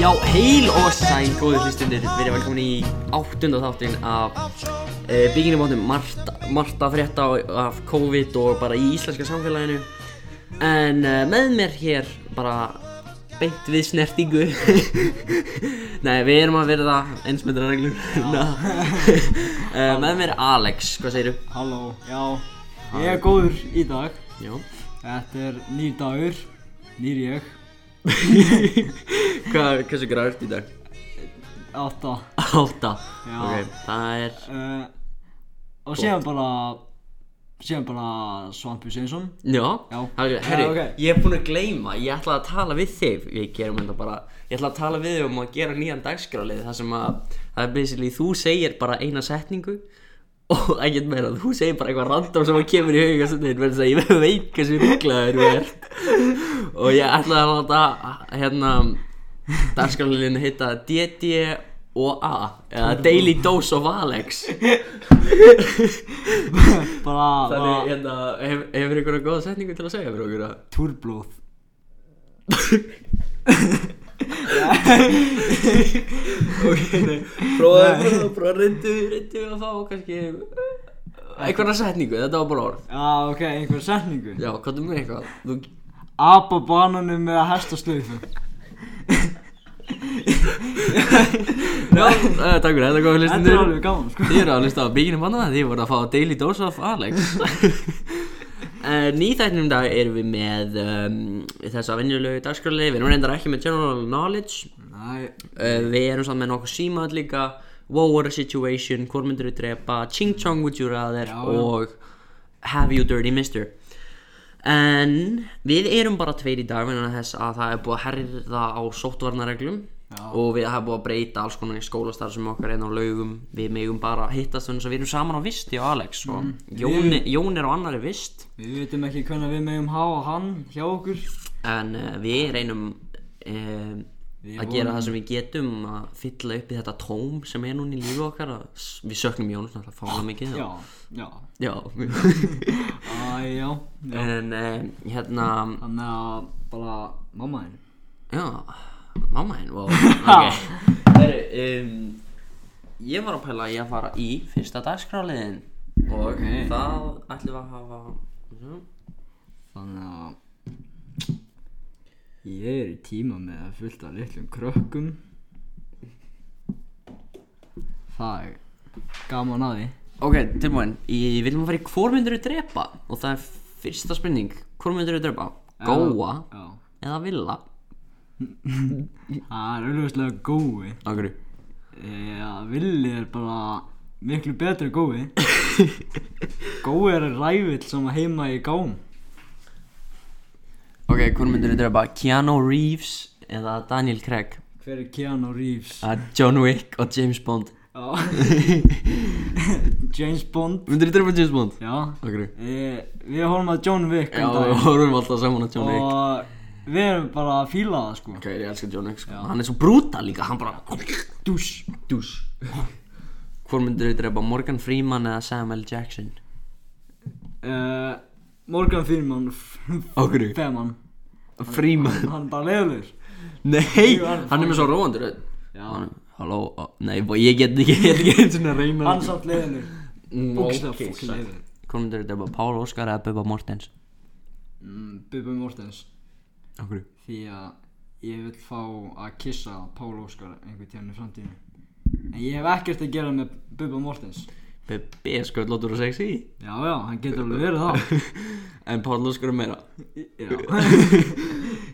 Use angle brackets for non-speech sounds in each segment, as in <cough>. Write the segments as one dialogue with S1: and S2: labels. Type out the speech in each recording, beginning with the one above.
S1: Já, heil og sæl, góði hlustundir, verið velkomin í áttunda þáttin af e, bygginu bóttum margt, margt að frétta á- af COVID og bara í íslenska samfélaginu En e, með mér hér bara beint við snertingu <laughs> Nei, við erum að verða eins með reglum <laughs> e, Með mér Alex, hvað segirðu?
S2: Halló, já, ég er góður í dag
S1: Já
S2: Þetta er nýr dagur, nýr ég,
S1: Hvað, hversu gráður í dag?
S2: átta
S1: Átta
S2: Já.
S1: Ok, það er
S2: uh, Og séðan bara, séðan bara Svampi Sveinsson <coughs>
S1: Já,
S2: Já.
S1: Herri, herri
S2: Já, ok.
S1: ég er búinn að gleyma, ég ætlaði að tala við þig Við gerum þetta bara, ég ætlaði að tala við þig um að gera nýjan dagskrálið Það sem að, það er basically, þú segir bara eina setningu Og <laughs> ekkert meira, þú segir bara eitthvað random sem að kemur í huga Þannig verður þess að ég <laughs> veit hversu rugglaður þú ert Og ég ætlaði að láta, hérna, dagskráliðin heita DD og A Eða Daily Dose of Alex
S2: Bara, bara,
S1: Þannig, hérna, hef- hefur ykkur að góða setningu til að segja fyrir okkur að
S2: túrblóð
S1: Prófaðu, prófaðu, reyndu, reyndu að fá kannski uh, einhverja setningu, þetta var bara orð
S2: Já, ok, einhver setningu
S1: Já, hvað er með eitthvað? Þú...
S2: Abba bananum með að hesta slöfu
S1: Já, uh, takk fyrir, þetta er góð
S2: Þetta er
S1: hlustundur
S2: alveg gaman, sko
S1: Þið eru að hlusta á Bíkinum Banna, þið voru að fá Daily Dose of Alex uh, Nýþættinum dag erum við með um, þessa venjulegu dagskrali Við erum reyndar ekki með general knowledge
S2: Næ,
S1: uh, Við erum saman með nokkuð símað líka What were the situation, hvor myndir við drepa Ching chong would you rather
S2: Já, já.
S1: og Have you dirty mister En við erum bara tveir í dag vegna þess að það er búið að herða á sóttvarnareglum
S2: Já.
S1: og við það er búið að breyta alls konar í skólastarf sem okkar einn á laugum við megum bara hittast þannig að við erum saman á visti og Alex sko. og
S2: Mm.
S1: Jón, Jón er á annari vist
S2: við vitum ekki hvernig við megum hafa hann hjá okkur
S1: en uh, við reynum uh,
S2: Við
S1: að gera það sem við getum að fylla upp í þetta tóm sem er núna í lífi okkar að, s- við söknum Jónas náttúrulega fána mikið
S2: Já, já,
S1: Já.
S2: æ, <laughs> já, já
S1: en um, hérna
S2: Þannig að bara mamma þín
S1: já, mamma henn
S2: <laughs>
S1: wow. ok Heru, um, ég var að pæla í að fara í fyrsta dagskráliðin og
S2: Ok.
S1: það ætlum við að hafa Já.
S2: Þannig að ég er í tíma með að fullta litlum krökkum Það er gaman að því
S1: ok, tilbúin, ég viljum að fara í hvor myndir við drepa og það er fyrsta spurning hvor myndir við drepa, góa
S2: Já,
S1: eða villa
S2: það er auðvitað gói
S1: okkur
S2: Já, villi er bara miklu betri
S1: <laughs>
S2: gói Gói er rævill sem að heima í gám
S1: Ok, hvern myndir þú drepa? Keanu Reeves eða Daniel Craig?
S2: Hver er Keanu Reeves?
S1: Uh, John Wick og James
S2: <laughs>
S1: Bond <laughs>
S2: Já James Bond
S1: Myndir þú drepa James Bond?
S2: Já
S1: Okkur
S2: Eh, Við horfum að John Wick
S1: Já,
S2: um
S1: við
S2: daginn.
S1: horfum alltaf saman á John Wick
S2: og við erum bara að fíla það sko
S1: Ok, ég elska John Wick sko Hann er svo brútal líka, hann bara
S2: dús
S1: Dús Hvern myndir þú drepa? Morgan Freeman eða Samuel Jackson?
S2: uh, Morgan Freeman
S1: Okkur
S2: Feman,
S1: Freeman
S2: hann er bara leiðilegur
S1: Nei, hann er með svo róandur
S2: Já.
S1: Halló, ó, nei, bó, ég get ekki, ég get ekki eins og reyna
S2: hann er samt leiðilegur
S1: Mm,
S2: bókslega
S1: ok,
S2: fokkin
S1: sæll.
S2: leiðilegur
S1: Hvern myndir þú drepa? Pál Óskar eða Bubba Mortens?
S2: mm, Bubba Mortens
S1: Okkur
S2: því að ég vil fá að kissa Pál Óskar einhvern tíðan í framtíðinu en ég hef ekkert að gera með Bubba Mortens
S1: Bubbi er sköldlótur og sexy
S2: já já, hann getur alveg verið það
S1: En Páll Óskar er meira
S2: já.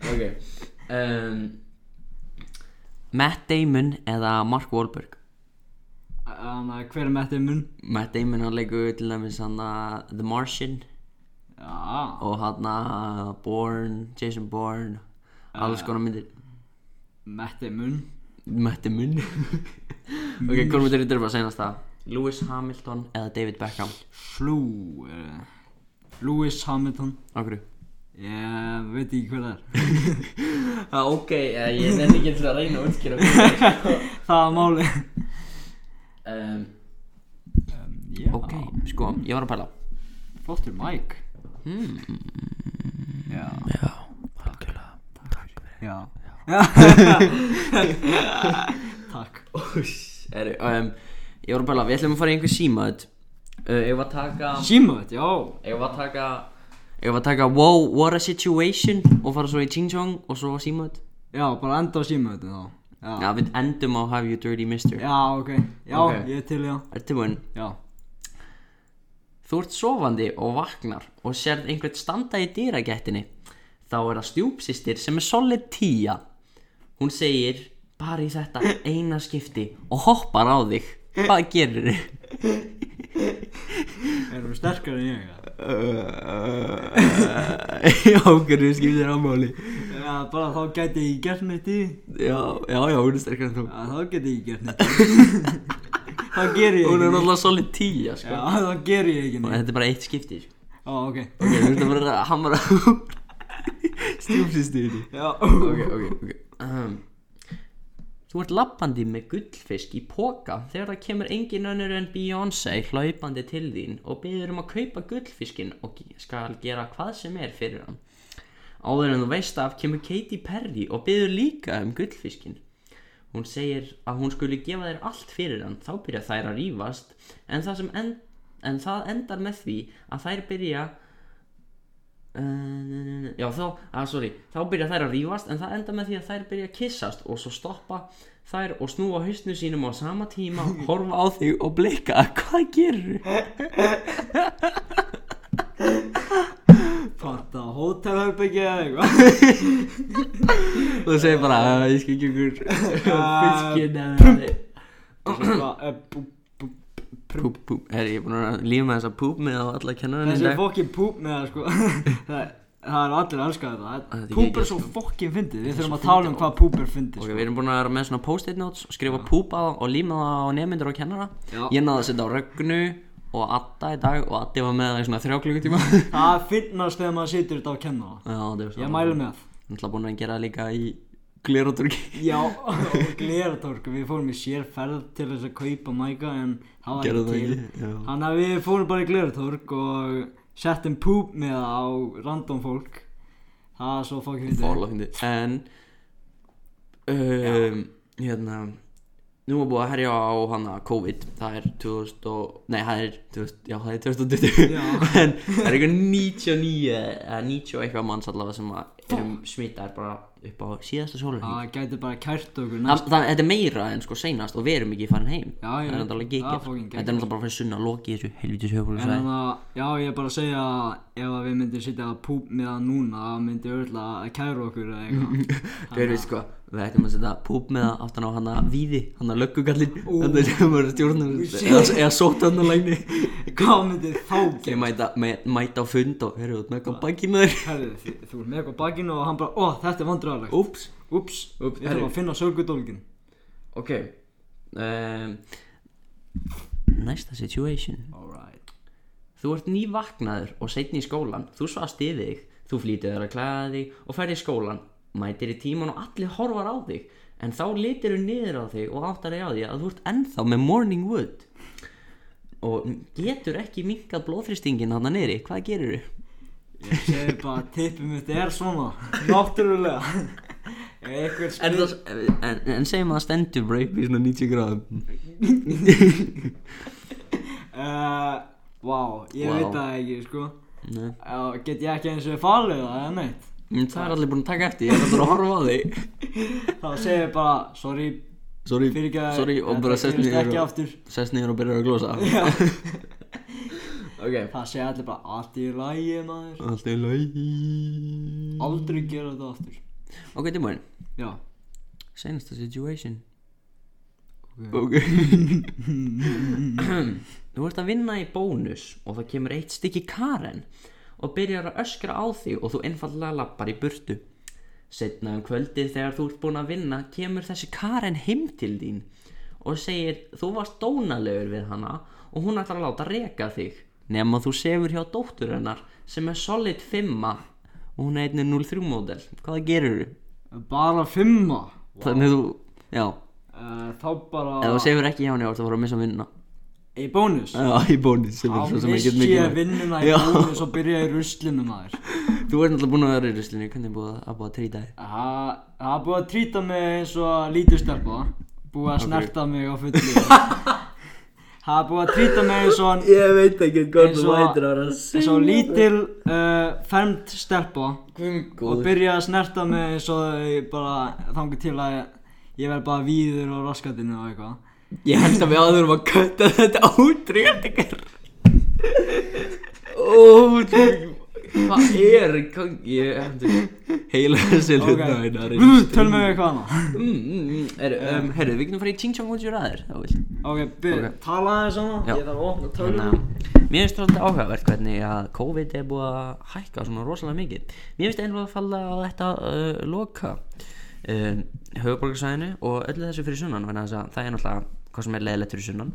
S1: Ok um, Matt Damon eða Mark Wahlberg
S2: Þannig að hver er með þetta í munn
S1: Matt Damon hann leikur til dæmis hann að The Martian
S2: já,
S1: og hann að Bourne, Jason Bourne alls konar myndir
S2: með þetta í munn
S1: Matt Damon Ok, hvað myndir þetta bara senast það? Lewis Hamilton eða David Beckham
S2: Slú uh, Lewis Hamilton
S1: Okkur
S2: Ég veit ekki hver það er <laughs>
S1: ah, Ok, eh, ég nefndi ekki til að reyna að útkýra
S2: Það er máli
S1: um,
S2: yeah.
S1: Ok, sko, ég var að pæla
S2: Flottur mæk
S1: hmm.
S2: Já
S1: Já, algjörlega
S2: Já
S1: <laughs>
S2: Takk
S1: Heru, um, Ég voru bara, við ætlum að fara í einhver símaðut uh, Ég var að taka
S2: Símaðut, já
S1: Ég var að taka Ég var að taka Wow, what a situation Og fara svo í Ching Chong Og svo símaðut
S2: Já, bara enda á símaðut þá Já,
S1: Já, við endum á Have you dirty mister
S2: já ok Já,
S1: Ok.
S2: ég er til, já
S1: Ertu mun
S2: Já
S1: Þú ert sofandi og vaknar og sérð einhvern standa í dýragettinni. Þá er það stjúpsistir sem er solid tíja. Hún segir bara í þetta eina skipti og hoppar á þig. Hvað gerir þið? <laughs>
S2: Erum við sterkar en ég, já
S1: Já, hvernig skiptir það ámáli?
S2: Já, bara þá gæti ég gert neitt í því.
S1: Já, já, já, hún er sterkar en þú.
S2: Já, þá gæti ég gert
S1: <laughs>
S2: neitt í því. Þá ger
S1: Hún
S2: ég ekki
S1: er
S2: neitt
S1: náttúrulega solid tíja, sko.
S2: Já, þá ger ég ekki neitt
S1: Þetta er bara eitt skipti, sko.
S2: Já, ok
S1: Ok, þú ert að bara að hamra <laughs> stjúpsistirni.
S2: Já,
S1: ok, ok, ok um, Þú ert lappandi með gullfisk í póka þegar það kemur engin önnur en Beyoncé hlaupandi til þín og byður um að kaupa gullfiskinn og ge- skal gera hvað sem er fyrir hann. Áður en þú veist af kemur Katy Perry og byður líka um gullfiskinn. Hún segir að hún skuli gefa þér allt fyrir hann, þá byrja þær að rífast en það, sem en, en það endar með því að þær byrja Uh, já þá, að sorry þá byrja þær að rífast en það enda með því að þær byrja að kissast og svo stoppa þær og snúa hausnu sínum á sama tíma <laughs> horfa á þig og blikka hvað gerur?
S2: Parta á hótelherbyggja eða eitthvað
S1: þú segir bara, "Ah, ég skil ekki <laughs> ykkur fiskin eða
S2: Og svo bara, eh, bú, bú,
S1: púp, púp, herri, ég er búin að lífa með þessa púp með á alla kennarinn í
S2: Þessi
S1: dag
S2: fokkin púp með það
S1: <laughs>
S2: sko Það það eru allir að elska þetta
S1: er
S2: Púp
S1: geggjað,
S2: er svo fokkin fyndið Við þurfum
S1: svo
S2: að tala um
S1: fyndið
S2: hvað púp er fyndið
S1: ok,
S2: sko.
S1: við erum búin að vera með svona post-it notes og skrifa púp á og líma það á nefnmyndir og kennara
S2: Já.
S1: ég náði að setja á rögnu og Adda í dag og Addi var með það í svona þrjá klukkutíma <laughs> já,
S2: Það finnast þegar maður situr þetta á að kenna það
S1: það er svo
S2: Ég mælu með það
S1: Ég ætla búin að gera það líka í gleroturki
S2: Já, <laughs> og gleratork, við fórum í sérferð til þess að kaupa mæka en það var
S1: Gerðu það
S2: ekki
S1: ekki,
S2: til
S1: já.
S2: Þannig að við fórum bara í gleratork og settum púp með það á random fólk Það er svo fokkin fyndið
S1: Fólafindi En um, Hérna Nú er búið að herja á hana COVID Það er 2000 og Nei, það er 2000, Já, það er 2020
S2: Já.
S1: <laughs> En það er eitthvað 99 Eða 90 og eitthvað manns allavega sem að erum smitaðir bara upp á síðasta sólurhing
S2: Það gæti bara kært okkur næst
S1: Þannig að þetta er meira en sko seinast og við erum ekki farin heim
S2: Já,
S1: Það
S2: já,
S1: er náttúrulega
S2: það
S1: geggjað
S2: er fucking
S1: Þetta er náttúrulega bara fyrir sunna loki þessu helvitis höfbúlu
S2: En þannig að, já ég er bara að segja að ef að við myndum sitja að púp með það núna það myndi öll að kæra okkur eða
S1: <laughs>
S2: eitthvað
S1: Við erum sko, við ættum að setja púp með það aftan á hana víði, hana löggugallin Þetta er sem að stjórna eða, eða sótannalægni
S2: Hvað myndi þá
S1: Ég mæta, mæ, mæta á fund og herru, út með eitthvað baki með þér
S2: Herðu, þú, þú er með eitthvað á bakinu og hann bara, ó þetta er vandræðalegt
S1: Úps,
S2: Úps,
S1: Úps,
S2: ég þarf
S1: herru.
S2: að finna sörgudólgin
S1: ok um, Næsta situation
S2: Alright
S1: Þú ert nývaknaður og setn í skólan Þú svast yfir þig, þú flýtur þér að klæða þig og ferð í skólan Mætir í tíman og allir horfar á þig En þá litir þú niður á þig og áttar þig á því að þú ert ennþá með morning wood Og getur ekki minkað blóðþristingin hann niðri, hvað gerir þú?
S2: Ég segi bara tippið mitt er svona
S1: <laughs>
S2: Náttúrulega Ef einhver
S1: En,
S2: spyr
S1: en, en segjum að það stendur bara upp í svona 90 gráðum
S2: uh, Vá, ég
S1: Vá.
S2: veit það ekki sko
S1: Nei.
S2: Já, Get ég ekki eins og farlega það eða neitt
S1: Mm, Það er allir búin að taka eftir, ég er allir að horfa á þig
S2: Þá segi ég bara, sorry
S1: Sorry,
S2: Fyrirgæði,
S1: sorry og
S2: þetta
S1: bara sest
S2: gerist
S1: niður
S2: ekki
S1: og,
S2: aftur.
S1: sest niður og byrjar að glósa
S2: Já.
S1: <laughs> Ok,
S2: Það segja allir bara, allt í lægi maður
S1: Allt er lægi
S2: Aldrei gera þetta aftur
S1: Ok, tilbúin
S2: Já
S1: Senasta situation
S2: Ok.
S1: Ok Þú ert að vinna í bónus og það kemur eitt stykki Karen og byrjar að öskra á þig og þú einfallega lappar í burtu Setna um kvöldið þegar þú ert búin að vinna kemur þessi Karen heim til þín og segir þú varst dónalegur við hana og hún ætlar að láta reka þig nema þú sefur hjá dóttur hennar sem er solid 5 og hún er einnig 0-3 módel hvað gerur þú?
S2: Bara fimma
S1: Þannig að þú, já,
S2: uh, Þá
S1: ef
S2: bara
S1: þú sefur ekki hjá henni þá ertu að fara að missa vinnuna
S2: Í bónus
S1: Já, í bónus sem
S2: Þá missi ég vinnuna í
S1: Já.
S2: bónus og byrja í ruslinu maður
S1: Þú ert náttúrulega búin að vera í ruslinu, hvernig er búið að- að búið að trýta þig?
S2: Það það er búið að trýta mig eins og lítið stelpa Búið að snerta mig á fullu Það er búið að trýta mig eins og
S1: Ég veit ekki
S2: hvort þú lætur að eins og lítil uh, fermt stelpa og
S1: Kvungóð
S2: byrja að snerta mig eins og ég bara þangur til að ég verð bara víður og raskatinu og eitthvað
S1: Ég held að við áðurum að kötta þetta átryggt ykkur Ó, þú- hvað er í gangi? Ég hendur heila þessi hluta hérna að
S2: Brr,
S1: reyna.
S2: tölum við eitthvað annað
S1: Mm, mm, mm, er- um, Herru, við getum farið í Ching Chong Woods aðeins, þá vilt
S2: ok, byrja,
S1: Ok.
S2: tala aðeins
S1: Já.
S2: annað
S1: Hérna.
S2: ég þarf að opna
S1: Þannig
S2: tölum
S1: að mér finnst alltaf áhugavert hvernig að COVID er búið að hækka svona rosalega mikið. Mér finnst einhverja að falla að þetta uh, loka um, höfuborgarsvæðinu og öllu þessu fyrir sunnan vegna þess að það er náttúrulega hvað sem er leiðilegt fyrir sunnan.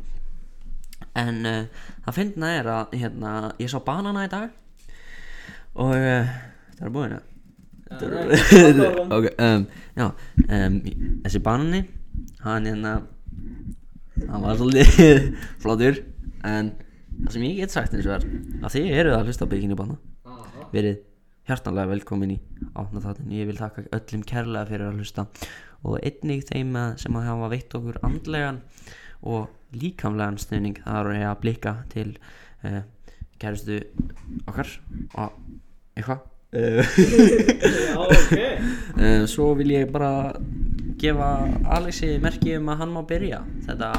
S1: En uh, það finna er að hérna, ég sá banana í dag og uh, þetta er búin að Þetta er- <laughs> ok, um, já, um, þessi banani hann hérna hann var svolítið <laughs> flottur en það sem ég get sagt eins og er að þið eruð að hlusta á bygginu banna verið hjartanlega velkomin í átnaþáttin ég vil þakka öllum kærlega fyrir að hlusta og einnig þeim að- sem að hafa veitt okkur andlegan og líkamlegan stuðning þar er ég að blikka til uh, kærustu okkar og eitthvað
S2: <laughs> já, ok
S1: <laughs> Eh, Svo vil ég bara gefa Alexi merki um að hann má byrja þetta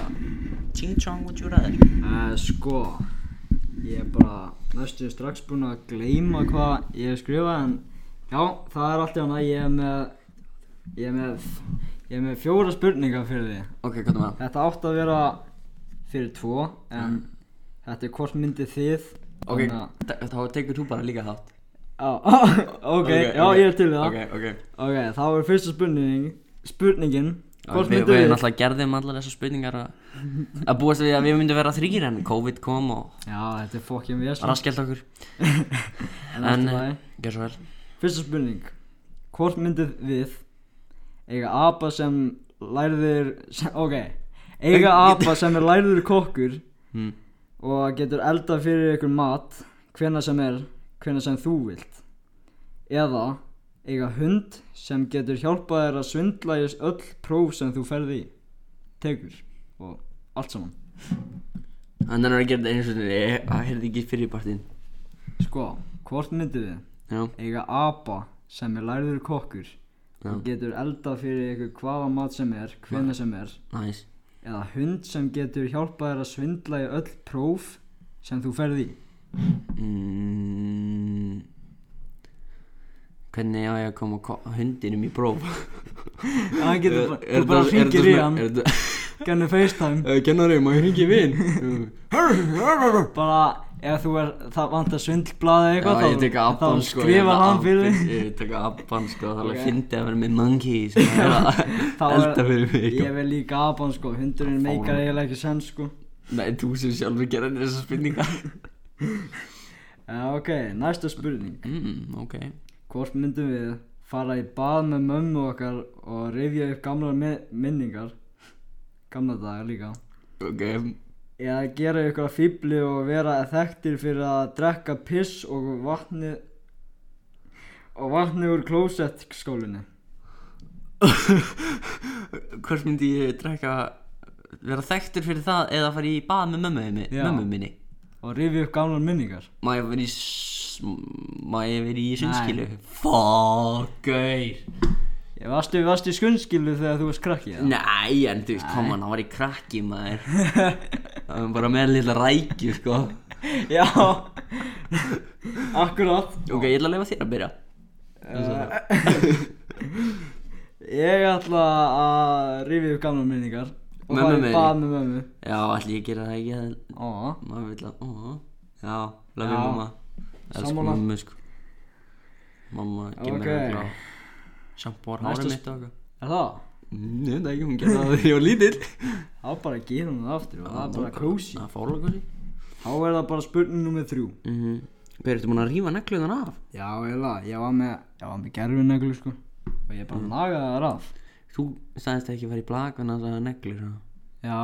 S1: Ching Chong og Júraður
S2: uh, sko ég er bara næstu strax búinn að gleyma hvað ég hef skrifað en já, það er alltaf hana ég er með ég er með, ég er með fjóra spurningar fyrir því
S1: Ok, hvað það?
S2: Þetta átt að vera fyrir tvo en þetta er hvort myndið þið
S1: Mm. Ok,
S2: þannig að-
S1: þa- þá tekur þú bara líka þátt
S2: Já, <laughs> ok, já ég er til í það
S1: Ok,
S2: Ok,
S1: ok
S2: þá er fyrsta spurning spurningin Hvort
S1: Við,
S2: myndið
S1: við
S2: þið
S1: náttúrulega gerðum allar þessar spurningar að að búast við að við myndum vera þrýr en COVID kom og
S2: Já, þetta er fokkjum við
S1: raskelt okkur En,
S2: En allt í lagi.
S1: gerð svo vel
S2: Fyrsta spurning Hvort myndið við eiga apa sem lærður sem, ok eiga apa sem er lærður kokkur
S1: Hmm.
S2: og getur eldað fyrir ykkur mat hvena sem er, hvena sem þú vilt eða eiga hund sem getur hjálpað þér að svindla í öll próf sem þú ferði í tekur og allt saman
S1: Þannig að gera þetta eins og þetta Það heyrði ekki fyrir partinn
S2: sko, hvort myndið við
S1: Já,
S2: eiga apa sem er lærður kokkur og getur eldað fyrir ykkur hvaða mat sem er, hvena sem er
S1: næs
S2: eða hund sem getur hjálpað þér að svindla í öll próf sem þú ferði
S1: <laughs>
S2: í
S1: Mm. Hvernig á ég að koma ko- hundinum í próf?
S2: hann getur bara,
S1: Er- er
S2: þú bara
S1: þetta- er þetta
S2: hringir í
S1: svona-
S2: hann
S1: er þetta-
S2: gennir facetime
S1: Eh, Kennari, má ég hringi í
S2: <laughs>
S1: vin?
S2: bara ef þú er, það vantar svindlblaði eitthvað
S1: Já, ég
S2: þá-
S1: tek abban
S2: þá
S1: sko
S2: skrifar hann fyrir þig
S1: Ég tek abban sko, það er alveg
S2: Ok.
S1: fyndið að vera með
S2: <laughs>
S1: monkey sem er að
S2: Þá er-
S1: elda fyrir mig
S2: ég vil líka apan sko, hundurinn meikar eiginlega ekki senn sko
S1: Nei, þú sem sjálfur gerir þessar spurningar
S2: Já, ok, næsta spurning
S1: Mm, ok
S2: hvort myndum við fara í bað með mömmu okkar og rifja upp gamlar mi- minningar gamla dagar líka
S1: Ok,
S2: eða gera ykkur að fýbli og vera þekktir fyrir að drekka piss og vatni og vatni úr klósett skólinu
S1: hvers myndi ég drekka vera þekktur fyrir það eða fara í bað með mömmu minni,
S2: Já.
S1: mömmu minni?
S2: og rifi upp gamlar minningar
S1: Má ég verið í s- Má ég verið í sunnskilu?
S2: Nei.
S1: Fuck, gauð
S2: ég varst í, varst í skunnskilu þegar þú varst krakki eða?
S1: Nei, en þú veist, koma, það var í krakki maður Það var bara með lilla rækju, sko
S2: <laughs>
S1: <laughs>
S2: já akkurat Eh,
S1: Ok, ég ætla að leifa þér að byrja Uh.
S2: ég ætla að rifi upp gamlar minningar og
S1: Mömmu
S2: fara í
S1: minni.
S2: bað með mömmu
S1: Já, ætli ég gera það ekki að
S2: Ó,
S1: Maður vil að, ó, já, lafi
S2: Já.
S1: mamma Elsku
S2: Sammála.
S1: mamma, sko Mamma,
S2: Ok.
S1: gemur okay. hann grá Sjampór
S2: Næsta
S1: hárið mitt og eitthvað
S2: er það?
S1: Mm, Ég veit ekki, hún gerði það <laughs> þegar ég var lítill
S2: þá bara gerum við það aftur og það er bara kósi
S1: Það fóla kósi
S2: þá er það bara spurning nummið þrjú
S1: Hver, ertu búin að rífa negluðan af?
S2: Já, eiginlega, ég var með, ég var með gerfineglu sko og ég bara nagaði það raf
S1: Þú sagðist ekki að fara í blag en að það er neglur ha?
S2: Já,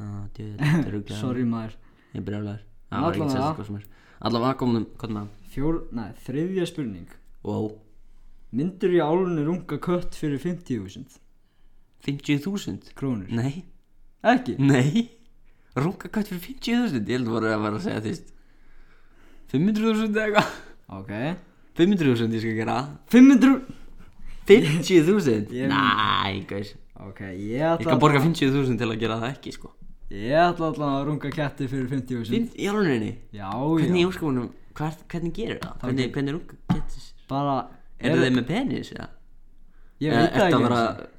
S1: Já, <laughs> djöðið, rugglaður
S2: sorry maður
S1: Ég brjálæður
S2: En
S1: Það var ekki
S2: allavega.
S1: sérst hvað sem er Allavega komum, hvað með það?
S2: Fjór, nei, þriðja spurning
S1: wow.
S2: Myndur í álunni runga kött fyrir 50.000
S1: 50.000?
S2: krónur?
S1: Nei,
S2: Ekki?
S1: <laughs> nei Runga kött fyrir 50.000 Ég held voru að vera að segja því 500.000 eða eitthvað
S2: Ok
S1: 500.000 ég skal gera
S2: 500 Ég-
S1: 50.000?
S2: ég-
S1: Næ, guys
S2: Ok, ég ætla
S1: Ég skal borga 50.000 til að gera það ekki, sko
S2: Ég ætla alltaf að runga ketti fyrir 50.000
S1: Finn- Í alvegni
S2: Já,
S1: Hvernig í
S2: já
S1: óskamunum, hvað, hvernig gerir það?
S2: Það
S1: Hvernig,
S2: ge-
S1: hvernig runga getur
S2: Bara
S1: Eru þeir með penis, eða?
S2: Ég
S1: Eða
S2: veit
S1: ertu
S2: það ekki
S1: að vera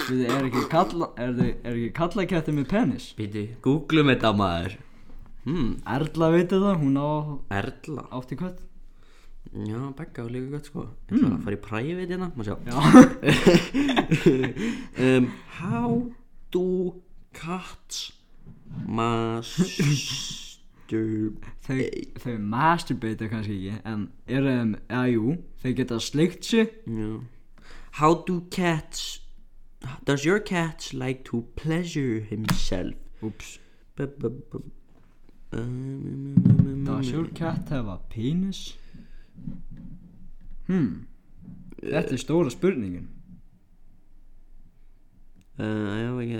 S2: Við þið er ekki kalla Er þið er ekki kalla ketti með penis?
S1: Býti, googlum þetta maður Hmm,
S2: Erla veit þetta, hún á
S1: Erla
S2: átti kött
S1: Já, Begga var líka gott sko Ég
S2: Hmm.
S1: ætla að fara í private hérna, maður sjá <laughs> um, How do cats masturbate
S2: Þau, þau masturbata kannski ekki En eru þeim, eða jú Þau geta sleikt sér
S1: Já. How do cats Does your cat like to pleasure himself?
S2: Úps
S1: B -b -b um,
S2: Does your cat have a penis? Hmm Þetta er stóra spurningin
S1: Uh, já, ekki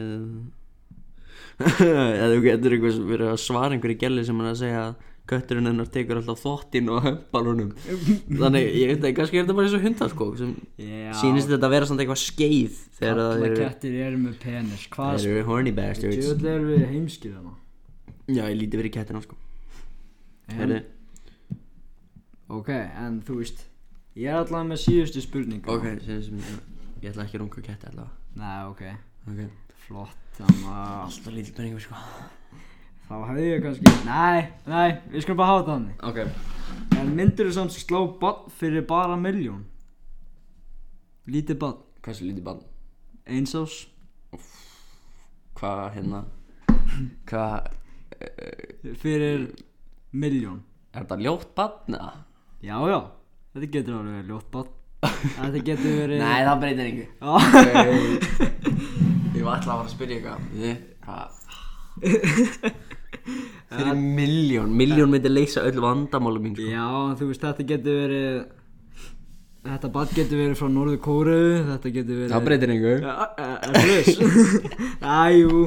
S1: <laughs> Eða þú getur einhvers verið að svara einhverju gæli sem hann er að segja að kötturinn hennar tekur alltaf þvottinn og hömpar <laughs> honum Þannig, ég veit ekki, kannski er þetta bara eins og hundar sko sem
S2: Já
S1: sýnist þetta að vera samt eitthvað skeið þegar það
S2: Alla
S1: eru,
S2: kettir eru með penis Hvað
S1: þeir eru horny bastards
S2: Djöðlega erum við heimskir þarna
S1: Já, ég líti verið kettina sko
S2: En-
S1: Heru,
S2: Ok, en þú veist Ég er allavega með síðustu spurningu
S1: Ok, sem, sem, ég ætla ekki að runga ketti allavega
S2: Nei, ok
S1: okay.
S2: Flott Þannig að
S1: Alltaf lítið penningur sko
S2: Þá hefði ég kannski Nei, nei, við skulum bara hafa þetta þannig
S1: Ok
S2: En myndir þú samt slá bann fyrir bara miljón? Lítið bann
S1: Hversu lítið bann?
S2: Eins ás
S1: Hvað hérna? <laughs> Hvað, eh,
S2: Fyrir miljón
S1: er þetta ljótt bann eða?
S2: Já, já Þetta getur alveg verið ljótt bann Þetta getur verið
S1: <laughs> Nei, það breytir engu
S2: Já,
S1: Ég var alltaf að fara að spyrja eitthvað Ég- hvað? Fyrir miljón, miljón myndi leysa öll vandamálum mín sko.
S2: já en þú veist þetta getur verið Þetta bann getur verið frá Norður Kóruðu Þetta getur verið
S1: breytir einhver
S2: Já, er
S1: <laughs>
S2: þú veist Æjú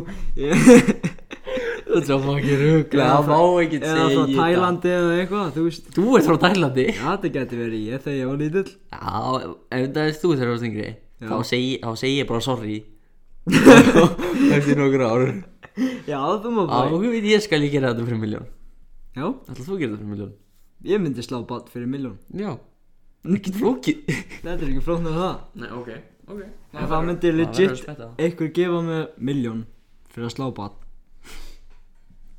S1: Þetta er fokkið rugla Það má ekki segja
S2: Eða frá
S1: þetta.
S2: Tælandi eða eitthvað, þú veist
S1: Þú ert frá Tælandi
S2: Já, þetta getur verið ég þegar ég var lítill
S1: Já, ef það er þú þegar þú ert yngri
S2: Já.
S1: þá segi, þá segi ég bara sorry <laughs> Eftir nokkur ár
S2: Já, þú má
S1: Á,
S2: bara
S1: veit ég skal ég gera þetta fyrir miljón
S2: Já,
S1: Ætlar þú að gera þetta fyrir miljón?
S2: ég myndi slá bát fyrir miljón
S1: Já Ekki flókið
S2: Þetta er ekki flóknar en það
S1: Nei, ok, ok
S2: En það
S1: verður
S2: myndi
S1: að
S2: legit
S1: spetta.
S2: einhver gefa mig miljón fyrir að slá bát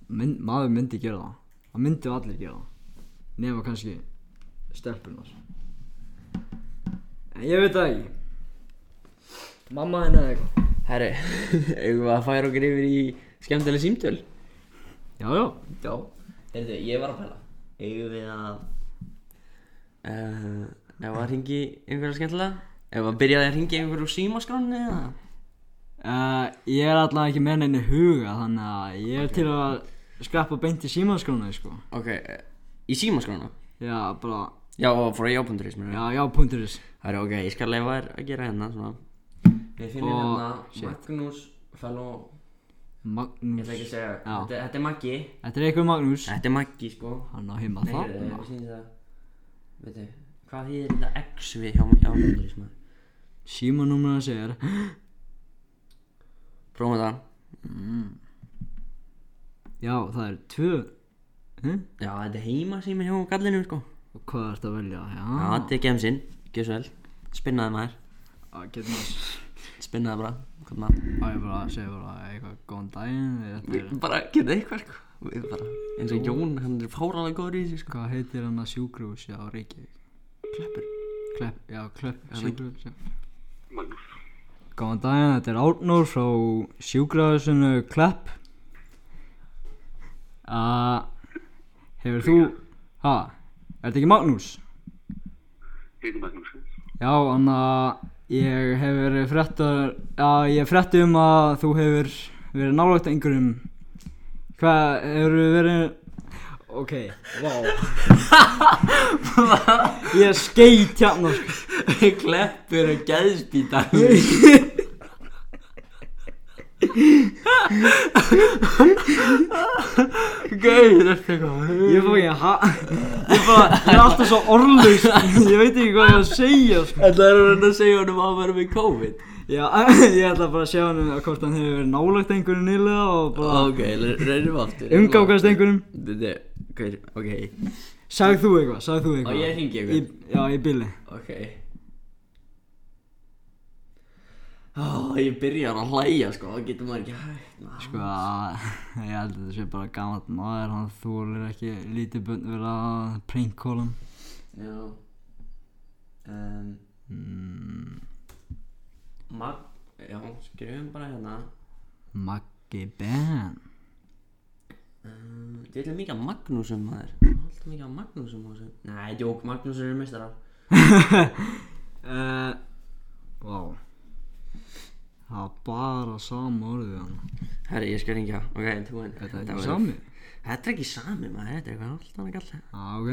S2: Mynd, Maður myndi gera það Það myndi allir gera það Nefna kannski stelpunar En ég veit það ekki Mamma henni eða eitthvað
S1: Herri, <laughs> eigum við að færa okkur yfir í skemmtileg símtöl?
S2: Já, já
S1: Já Heyrðu, ég var að pæla Eigum við að uh, Ef að ringi einhverja skemmtilega Ef að byrjaði að ringi einhverju símaskráni eða
S2: Uh, ég er allavega ekki með henni huga þannig að ég er til að skrappa beint í símaskránu sko.
S1: Ok, eh, í símaskrána?
S2: Já, bara,
S1: Já, og frá jápunduris mér
S2: já, já, punktur þess
S1: Herri, ok, ég skal leifa þér að gera hérna svona Við finnum
S2: Og-
S1: hérna Magnús Fellow Ég
S2: Magnús
S1: ætla ekki að segja
S2: Já.
S1: Þetta, þetta er Maggi
S2: Þetta er eitthvað Magnús
S1: Þetta er Maggi, sko
S2: Hann á heima
S1: Nei,
S2: það
S1: heyrðu, ég sýndi það Veitu, hvað þýðir þetta X við hjá jápunduris mér?
S2: Símanúmer hans er
S1: Prófum það
S2: Já, það er tvö hm?
S1: Já, þetta er heima sími hjá gallinu, sko
S2: Og hvað ertu að velja? Já,
S1: Já, þetta er gemsinn, gjössu vel Spinnaði maður,
S2: já getur maður
S1: spinnaði bara Hvað maður
S2: Á, ég bara að segja bara eitthvað góðan daginn þetta er-
S1: Bara, gerði eitthvað, sko Við bara, eins og Jón, hann er fáralega góður í þessu, <laughs> sko
S2: Hvað heitir hann að sjúkrúsi á Reykjavík?
S1: Kleppur
S2: Klepp, já, klepp, sjúkrahús Magnús Góðan daginn, þetta er Árnór frá sjúkrahúsinu Klepp uh, Hefur þú Ha, er þetta ekki Magnús?
S3: Heiti Magnús.
S2: Já, hann að ég hefur verið fréttar Já, ég frétti um að þú hefur verið nálægt einhverjum Hvað, hefur verið Ok, vá Ég er skeit hérna sko.
S1: Kleppur og geðspítar Gauður eftir eitthvað
S2: Ég fá ekki ha Ég fá, ég er alltaf svo orðlaus sko. Ég veit ekki hvað ég á að segja sko.
S1: Þetta er hann að segja honum að hann var með COVID
S2: Já, <laughs> ég ætla bara að sjá hann um hvort hann hefur verið nálagt einhverju nýlega og bara
S1: Ok, reynum
S2: <laughs>
S1: aftur
S2: umgákast einhverjum
S1: Þetta er, gaur, ok
S2: Sagði þú eitthvað, sagði þú eitthvað
S1: Og ég hringi
S2: Í,
S1: eitthvað
S2: já, í billi
S1: Ok Ó, ég byrjar að hlæja sko, þá getur maður ekki hægt maður.
S2: Sko, <laughs> ég held að þetta sé bara gammalt maður Hann þúlir ekki lítið bönn verið að prankkóla hann.
S1: Já um,
S2: Mm,
S1: Mag Já, skrifum bara hérna
S2: Maggi Ben
S1: Mm, Þetta er mikið að Magnúsum maður Alltaf mikið að Magnúsum og þessu Nei, djók, Magnúsum eru meistarar
S2: <laughs> uh, Vá Það var bara sama orðið við hann
S1: Herri, ég skal ringja, ok, tilbúin
S2: Þetta er
S1: var-
S2: ekki sami
S1: Þetta er ekki sami maður, þetta er eitthvað alltaf annað galla
S2: Já, ok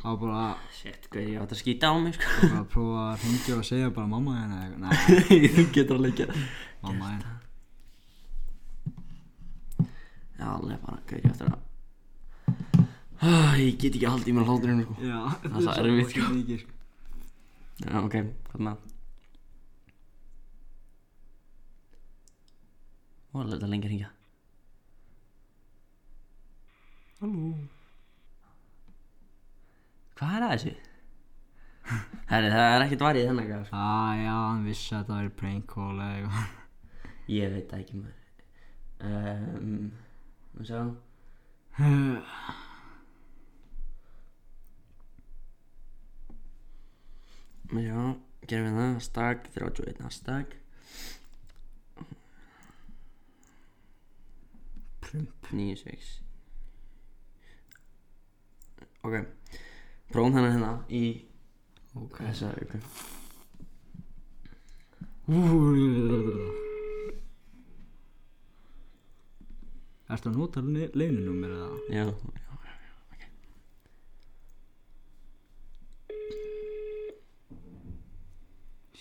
S2: Það var bara
S1: Shit, hvað ég átt að skýta á mig, sko
S2: bara að prófa að hringja og segja bara mamma hérna
S1: <laughs>
S2: eða eitthvað. Nei,
S1: Þú getur að leikja
S2: mamma hérna
S1: Já, alveg bara, hvað ég átt að Ah, Ég get ekki að halda í mér hláturinn, sko
S2: Já,
S1: er svo erfitt, sko.
S2: mikið sko.
S1: Já, ok, hérna. hvað með það? Ó, alveg þetta lengi að ringja Halló Hvað er að þessu? <laughs> Herri, það er ekkert varið þennan, sko
S2: Á, já, hann vissi að það væri prank call eða eitthvað. <laughs>
S1: Ég veit það ekki maður um, Og svo Og svo Gerum við það Stag 31 Stag
S2: Prump.
S1: 96 Ok Prófum þennan hérna í
S2: Ok.
S1: Þessa auku
S2: Úrrrrrrrrrr. Ertu að nota leinunúmer eða?
S1: Já, já, já, já, ok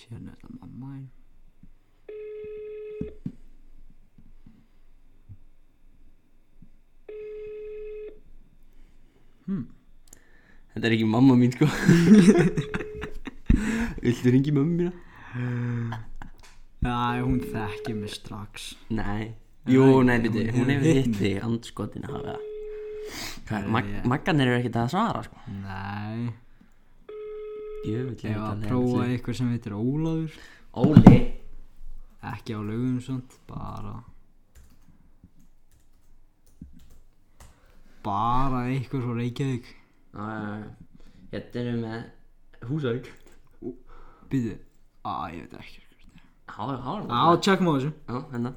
S2: Sérna er þetta mamma einn.
S1: Þetta er ekki mamma
S2: <laughs>
S1: mín sko Viltu ringi mamma mína?
S2: Já, hún þekkir mig strax.
S1: Nei Jú, nei, byrju,
S2: hún
S1: hún
S2: hefur
S1: hefur
S2: hitt
S1: hitt þig andskotin að hafa Hvað,
S2: Já,
S1: mag
S2: já.
S1: maggarnir eru ekkert að svara sko
S2: Nei.
S1: Jöfull
S2: Ég
S1: er
S2: var að
S1: þetta
S2: prófa
S1: leiðilegt.
S2: eitthvað sem heitir Ólafur.
S1: Óli
S2: Ekki á lögum svont, bara... Bara eitthvað svo Reykjavík.
S1: Já, já, já. Hérna erum við með Húsavík
S2: Býðu. Á, ég veit ekki.
S1: Há, há,
S2: Á,
S1: há
S2: tjekkum á þessu.
S1: Já, hérna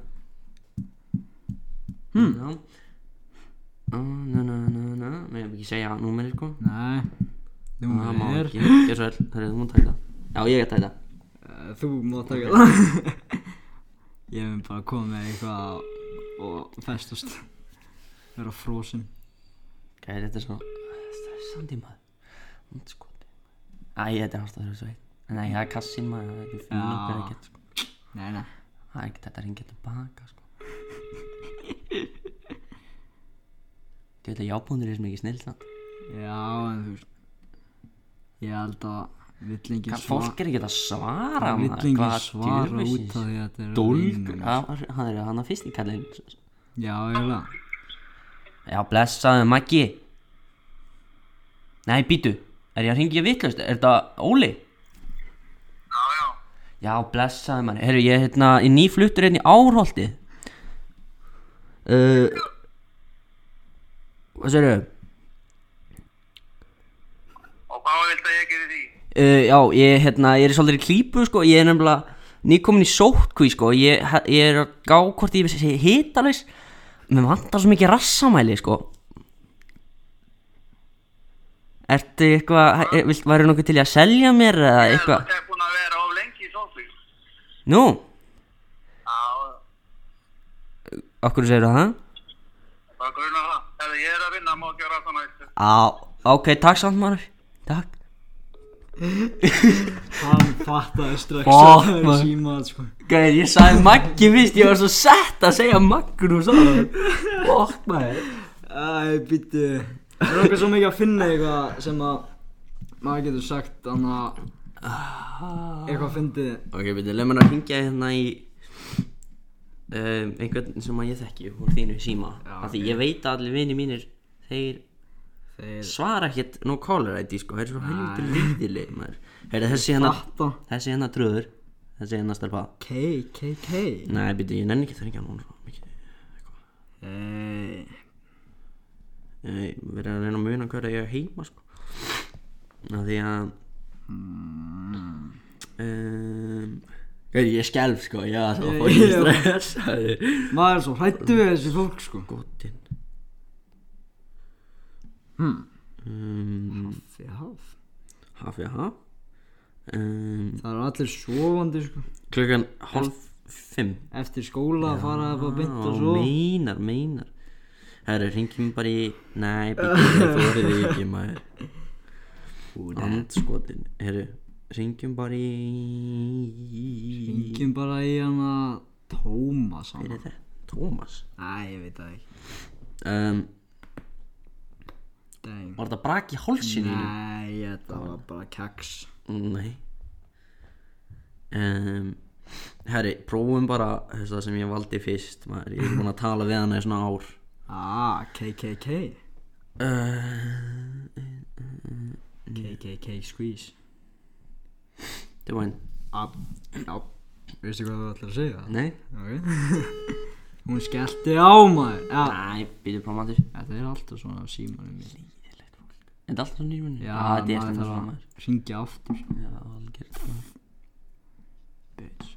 S1: Hmm Já Ó, Na, na, na, na Mér hef ekki segja númerið sko
S2: Nei.
S1: Það má
S2: Númer er...
S1: ekki Gjör svo vel Það er þú múin að taka þetta Já, ég get þetta
S2: Eh, Þú mátt taka það <laughs> Ég mun bara koma með eitthvað og festast vera frosin
S1: Gæði, þetta er svo Stressandi maður Andskoti Æ, þetta er alltaf þess að veit Nei, það er kassin maður Það er ekki fyrir okkur
S2: Já.
S1: að geta sko
S2: Nei, nei
S1: Það er ekkert hægt að ringja tilbaka
S2: <laughs>
S1: sko Þú veit að jábúndur er sem ekki snill það
S2: Já, en þú veist Ég held að vill engin
S1: Hvað fólk er ekki að svara
S2: Vill engin svara út af því að þetta er
S1: Dólg
S2: línum.
S1: Hann er hann að fyrst í kallin
S2: Já, eiginlega
S1: Já blessaðu Maggi Nei býtu Er ég að ringja vitlaust? Er þetta Óli?
S3: Já, já,
S1: Já blessaðu mann Herru ég er hérna í nýfluttur hérna í Árholti Uh Hvað segirðu?
S3: og hvað vilt að ég geri því?
S1: Uh, já, ég, hérna, ég er svolítið í klípu sko, ég er nefnilega nýkomin í sótkví sko, ég, he- ég er að gá hvort ég sé hitalaus mér vantar svo mikið rassamæli sko Ertu eitthvað, he- er- vilt, væri nokkuð til í að selja mér eða
S3: Ég er
S1: eitthvað?
S3: náttúrulega búin að vera of lengi í sófi.
S1: Nú,
S3: Já,
S1: okkur segir það?
S3: bara grunar það. Það Herðu, ég er að vinna, má ekki vera aftan á þessu.
S1: Á, ok, takk samt maður Takk
S2: Hann fattaði strax
S1: Fuck,
S2: að það er
S1: maður.
S2: símað sko
S1: Gæði, ég sagði Maggi fyrst, ég var svo sett að segja Magnús á það Fokk maður
S2: Æ, býttu Það er okkur svo mikið að finna eitthvað sem að maður getur sagt þannig að eitthvað fyndið
S1: Ok, betur, leið mér að hringja hérna í um, einhvern sem að ég þekki úr þínu síma
S2: Já,
S1: af því ég veit að allir vini mínir þeir
S2: Þeir
S1: svara ekkert no caller ID sko, þeir eru svo helviti líðileg maður Heyrðu, þessi hérna,
S2: fatta
S1: þessi hérna tröður þessi hérna stelpa
S2: K, K, K
S1: Nei, betur, ég nenni ekki það ekki hann svona mikið
S2: Nei
S1: Ég verið að reyna að muna hverja ég er heima sko. Af því að
S2: Hmm.
S1: um, Gauði, Ég skelf sko Ég var svo
S2: <laughs> Ég-
S1: fólkið
S2: ég-
S1: stressaður
S2: Maður er svo hrættu við þessi fólk sko
S1: Gotin
S2: Hmm.
S1: um,
S2: Því haf
S1: Hafi ha um,
S2: Það eru allir sofandi sko
S1: Klukkan hálf fimm
S2: Eftir skóla að fara eitthvað beint og svo
S1: Meinar, meinar Herru, ringjum bara í Nei, bíddu, þú verður því ekki maður Andskotin Herru, ringjum bara í
S2: Yngjum bara í hana Tómas
S1: Hver
S2: hana
S1: er það? Tómas
S2: Æ, ég veit það ekki
S1: um,
S2: Dang
S1: Var þetta brak í hálsinu?
S2: Nei, þetta var bara keks
S1: Nei um, Herri, prófum bara þess að sem ég valdi fyrst maður. Ég er búin að tala við hana í svona ár
S2: Ah, KKK
S1: uh,
S2: KKK squeeze
S1: Það var einn
S2: Ab, já Veistu hvað þú ætlar að segja?
S1: Nei
S2: Ok <laughs> Hún skellti á maður Já
S1: Næ, býtum prófum að þér
S2: Þetta er alltaf svona á símanum minn
S1: Er þetta alltaf svona nýrmunni?
S2: Já,
S1: þetta er
S2: maður
S1: alltaf
S2: þarf
S1: svona
S2: að ringja aftur
S1: maður. Já, algjörð
S2: Bitch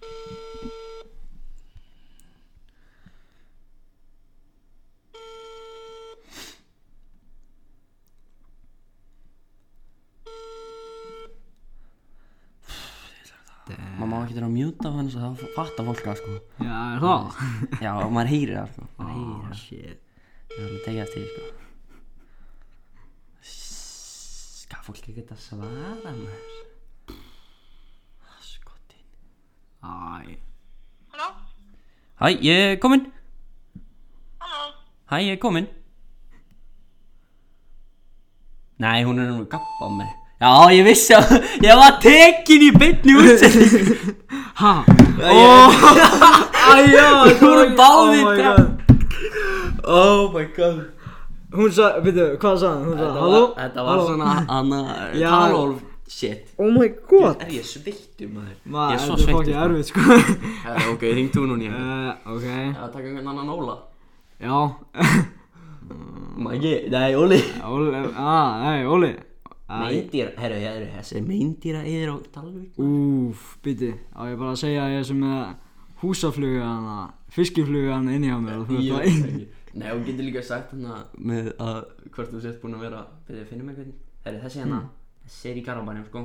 S1: Maður má ekki vera að mjúta hann svo það fattar fólk að sko
S2: Já, er það? <laughs>
S1: Já, og maður heyrir það sko Maður heyrir
S2: Oh, shit
S1: Ég er alveg tekið eftir því, sko Skal fólk ekki geta svara mér? Skotin
S2: Æ
S3: Halló?
S1: Hæ, ég er kominn
S3: Halló?
S1: Hæ, ég er kominn Nei, hún er nú að gappa á mig Já, ég vissi að <laughs> ég var tekin í beinni
S2: <laughs>
S1: útsendingu
S2: Ha?
S1: Ó,
S2: Æjá
S1: Þú voru báðir drap-
S2: Oh my god <laughs> Hún sa, veitu, hvað sa hann? Hún sa, halló?
S1: Þetta var
S2: Halló?
S1: svona anna
S2: <laughs> Já.
S1: Talolf shit
S2: Oh my god
S1: Er ég sveittur maður? Ég
S2: Maður,
S1: er svo
S2: þetta er fokkið
S1: sveittur <laughs>
S2: erfið sko
S1: Herra, Ok, ring þú núna ég
S2: Eh, Ok
S1: Það taka einhvern annan óla
S2: Já
S1: Maggi, nei, Óli
S2: Óli, ah, nei, Óli Æ,
S1: Meindýra, herru, herru, þessi meindýra yfir á Dalvík
S2: Úf, bytti, á ég bara að segja að ég er sem með húsafluga hana, fiskifluga hana inni hjá mér og þú ert bara inn
S1: <laughs> Nei, og getur líka sagt hérna með að hvort þú sért búin að vera Byrðu að finna mig hvernig Herru, þessi hérna, þessi er í Garabænum, sko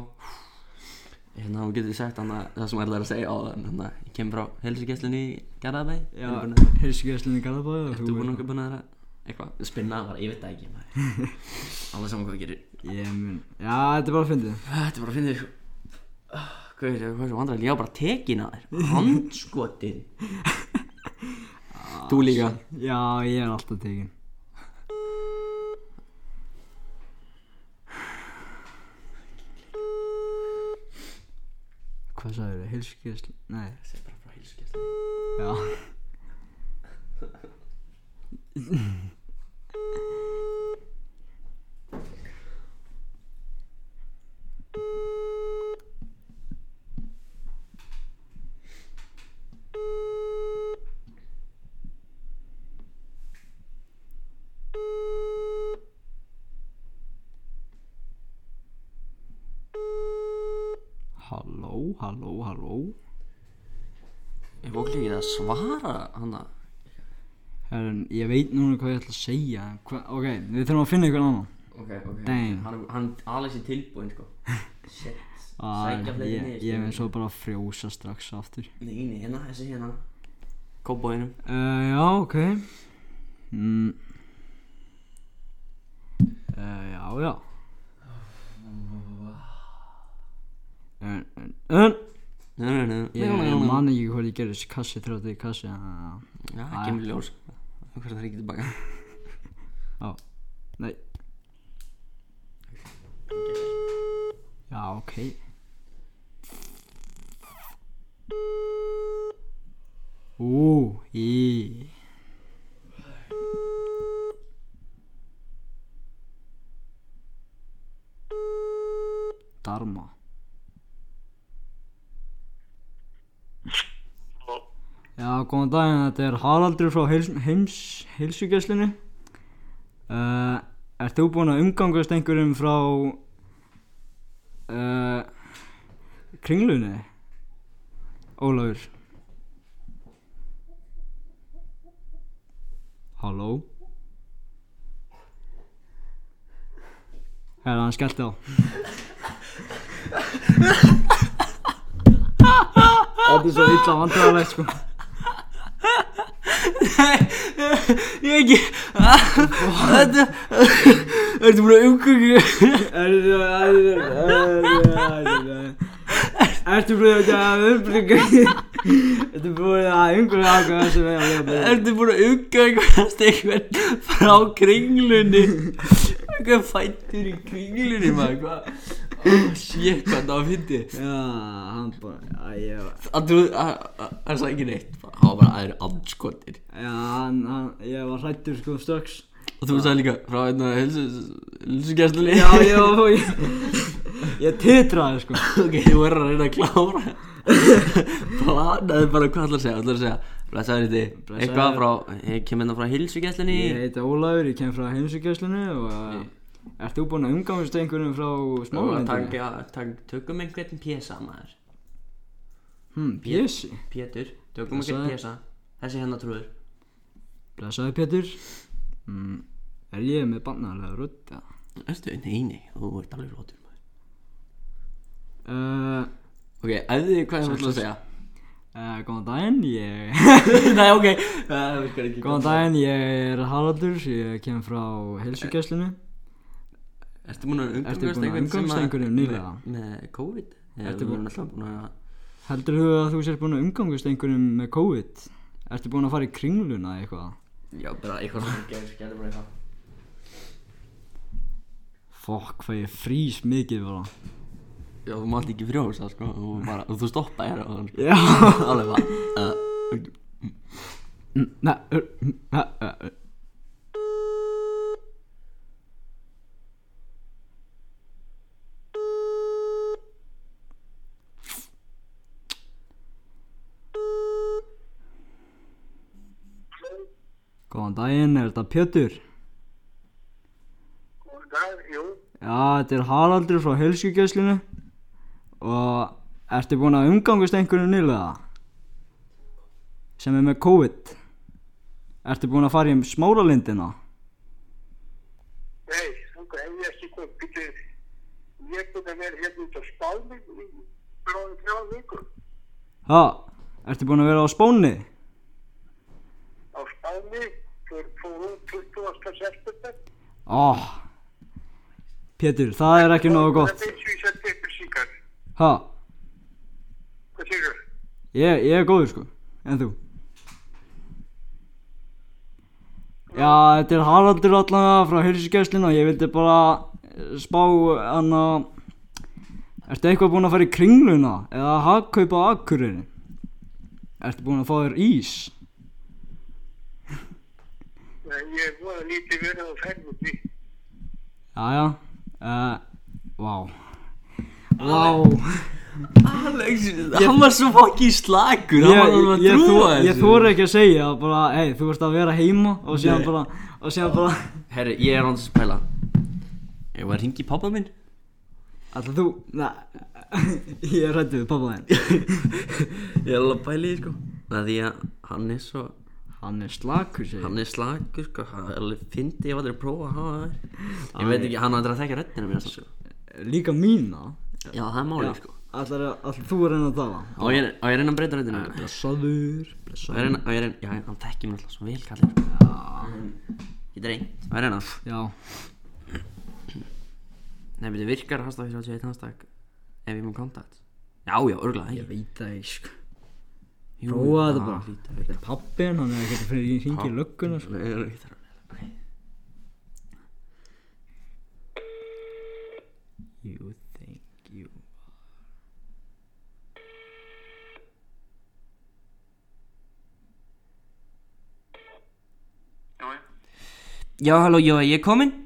S1: Hérna, og getur sagt hérna það sem ætlaði að segja á þann Hérna, ég kem frá helsugeslinni í Garabæ
S2: Já,
S1: Ertu búin að-
S2: heilsugjöfslinn í Garðabæði og
S1: Ertu búin að
S2: ert-
S1: okkur búin að vera eitthvað Spinna bara, ég veit það ekki maður. <laughs> Alveg saman hvað þú gerir
S2: Ég mun, já, þetta er bara að fyndið
S1: Þetta er bara að finna þér Hvað er það sem vandræðilega? Ég var bara tekin að <laughs> þér Handskotin Ah, Þú líka
S2: Já, ég er alltaf tekin Hvað sagður þau, heilsugjöfslinn, nei,
S1: Þetta er bara frá heilsugæslu
S2: já Halló, halló, halló
S1: Ég fólk ekki að svara hana
S2: Herrun, ég veit núna hvað ég ætla að segja Hva, Ok, við þurfum að finna ykkur annan
S1: Ok, ok
S2: Dang.
S1: Hann, hann Alex er tilbúinn sko Shit Sækja
S2: Æ,
S1: fleiri
S2: Ah, ég,
S1: niður sko.
S2: ég mun svo bara að frjósa strax aftur
S1: Nei, nei, hérna, þessi hérna Kóbóinum
S2: uh, Já, ok mm, Já, já En, en, en Ég man ekki hvað ég gerði kassi þrjótið í kassi þannig að-
S1: Já, það kemur í ljós Hvort það er ekki tilbaka
S2: Já, nei Já, ok Ú, í Dharma Já, góðan daginn, þetta er Haraldur frá heims, heims, heilsugjæslinu uh, Ert þú búinn að umgangast einhverjum frá uh, kringlunni, Ólafur? Halló? Herra, hann skellti á Þetta er svo illa vandrarlegt sko
S1: <laughs> Ég ekki Ah, Þetta Ertu búin að umkvöku
S2: Ertu búin að Ertu búin að umgurðu ákveða sem ég að lifa
S1: Ertu búin að umkvöku einhvern frá kringlunni Hvað fættur í kringlunni maður Hvað oh, Shit, hvað það var fyndi
S2: Já, hann bara Æ, já,
S1: Að þú Það sagði ekki neitt Það var bara aðeins andskotir
S2: já, hann, hann, ég var hrættur sko strax
S1: Og þú sagði líka Frá hérna einna hilsugjastlunni
S2: <laughs> Já, já, ég, ég titraði sko
S1: <laughs> Ok, þú verður að reyna að <laughs> klára Planaði bara hvað ætlar að segja ætlar að segja Blessaður þetta
S2: Blessaður.
S1: Eitthvað frá Ég kem hérna frá hilsugjæslinni
S2: Ég heiti Ólafur, ég kem frá heimsugjöslinu og eh, Ert þú búin að umgangast einhverjum frá
S1: Og að
S2: smálindinu?
S1: taka taka- Tökum einhvern pjesa maður
S2: Hm, Pési
S1: Pétur Tökum einhvern
S2: Blessaður.
S1: pjesa Þessi hérna trúður
S2: Blessaði Pétur mm, Er ég með bannalega rödd, eða?
S1: Ertu? Nei, nei Þú ert alveg flottur maður
S2: Uh,
S1: Ok, æðið hvað þú ætlar að segja <laughs>
S2: uh, góðan daginn, ég... <laughs>
S1: Nei, ok Það virkar ekki
S2: góðan daginn, ég er Haraldur, ég kem frá helsugjæslinu.
S1: Ertu búin að
S2: Ertu
S1: umgangast
S2: búin að
S1: einhvern sem
S2: umgangast
S1: að-
S2: einhverjum nýlega?
S1: Með COVID
S2: Ertu
S1: Ertu
S2: búin-
S1: búin alltaf búin að
S2: Heldur þú að þú sér búin að umgangast einhverjum með COVID? Ertu búin að fara í kringluna eða eitthvað?
S1: Já, bara eitthvað Gerðu bara eitthvað
S2: Fokk, hvað ég frýs mikið bara.
S1: Já, þú mátt ekki frjósa, sko, og, <laughs> bara, og þú stoppa hér og þannig,
S2: Já.
S1: sko. <laughs> alveg bara, uh,
S2: Nei, uh, uh, uh, uh. Góðan daginn, er þetta Pjötur?
S3: dag, jú,
S2: Já, þetta er Haraldur frá helsugjæslinu og ertu búinn að umgangast einhverju nýlega sem er með COVID Ertu búinn að fara í um smáralindina?
S3: nei, þannig hef ég ekki komið, býtið, ég er búin að vera hérna út á spáni í bráðum þrjá vikur,
S2: Já, ertu búinn að vera á spónni?
S3: á spáni, fór, fór út 20. september.
S2: Ó, Pétur, það er ekki nógu
S3: Það
S2: gott
S3: finnst því sett eitthvað síkar,
S2: Já,
S3: hvað séu,
S2: ég, ég er góður sko, en þú? Já, þetta er Haraldur allavega frá heilsugjæslinu og ég vildi bara eh, spá hann að Ertu eitthvað búinn að fara í kringluna eða hagkaupa á akkurinu? Ertu búinn að fá þér ís?
S3: ég er voða lítið verið á ferðinni,
S2: Jæja, uh, vá Vá,
S1: Alex, hann var svo fokki slagur, hann var alveg að
S2: ég,
S1: trúa
S2: þor-
S1: þessu.
S2: ég þóra ekki að segja að bara, hei, þú ert að vera heima og síðan
S1: Nei.
S2: bara, og síðan bara
S1: Herri, ég er hans að spæla, ég var að ringi pappa minn,
S2: Alltaf þú, na, <laughs> ég rætti við pappa þinn
S1: <laughs> ég er alveg að pæla í, því, sko, það er því að hann er svo,
S2: Hann er slakur, segir
S1: hann er slagur, sko, hann er alveg fyndi, ég var aldrei að prófa að hafa það, ég veit ekki, hann var aldrei að þekka röddina mér, sko,
S2: Líka mína
S1: já, það er málið, sko,
S2: Allar, allar þú er henni að tala
S1: á ég á ég að reyna að breyta röddina, á
S2: Blessaður,
S1: ég að
S2: blessaður
S1: reyna, á ég að reyna, já, hann þekkir mér alltaf svo vel, kallir, ég dreng, á ég að reyna,
S2: Já
S1: Nei, betur virkar hashtag 31 hashtag Ef ég má kontakt Já, já, örgulega
S2: Ég
S1: ekki
S2: veit það ekki sko
S1: Jú,
S2: Prófa
S1: það
S2: þetta bara.
S1: hlýtur að
S2: Þetta er pabbi hann, hann er að geta fyrir í hringi í
S1: Pabbi.
S2: lögguna sko.
S1: vera. Hlýtur að vera. Ok.
S2: You think you
S3: Já, já.
S1: Já, halló, já, ég er komin
S2: <laughs>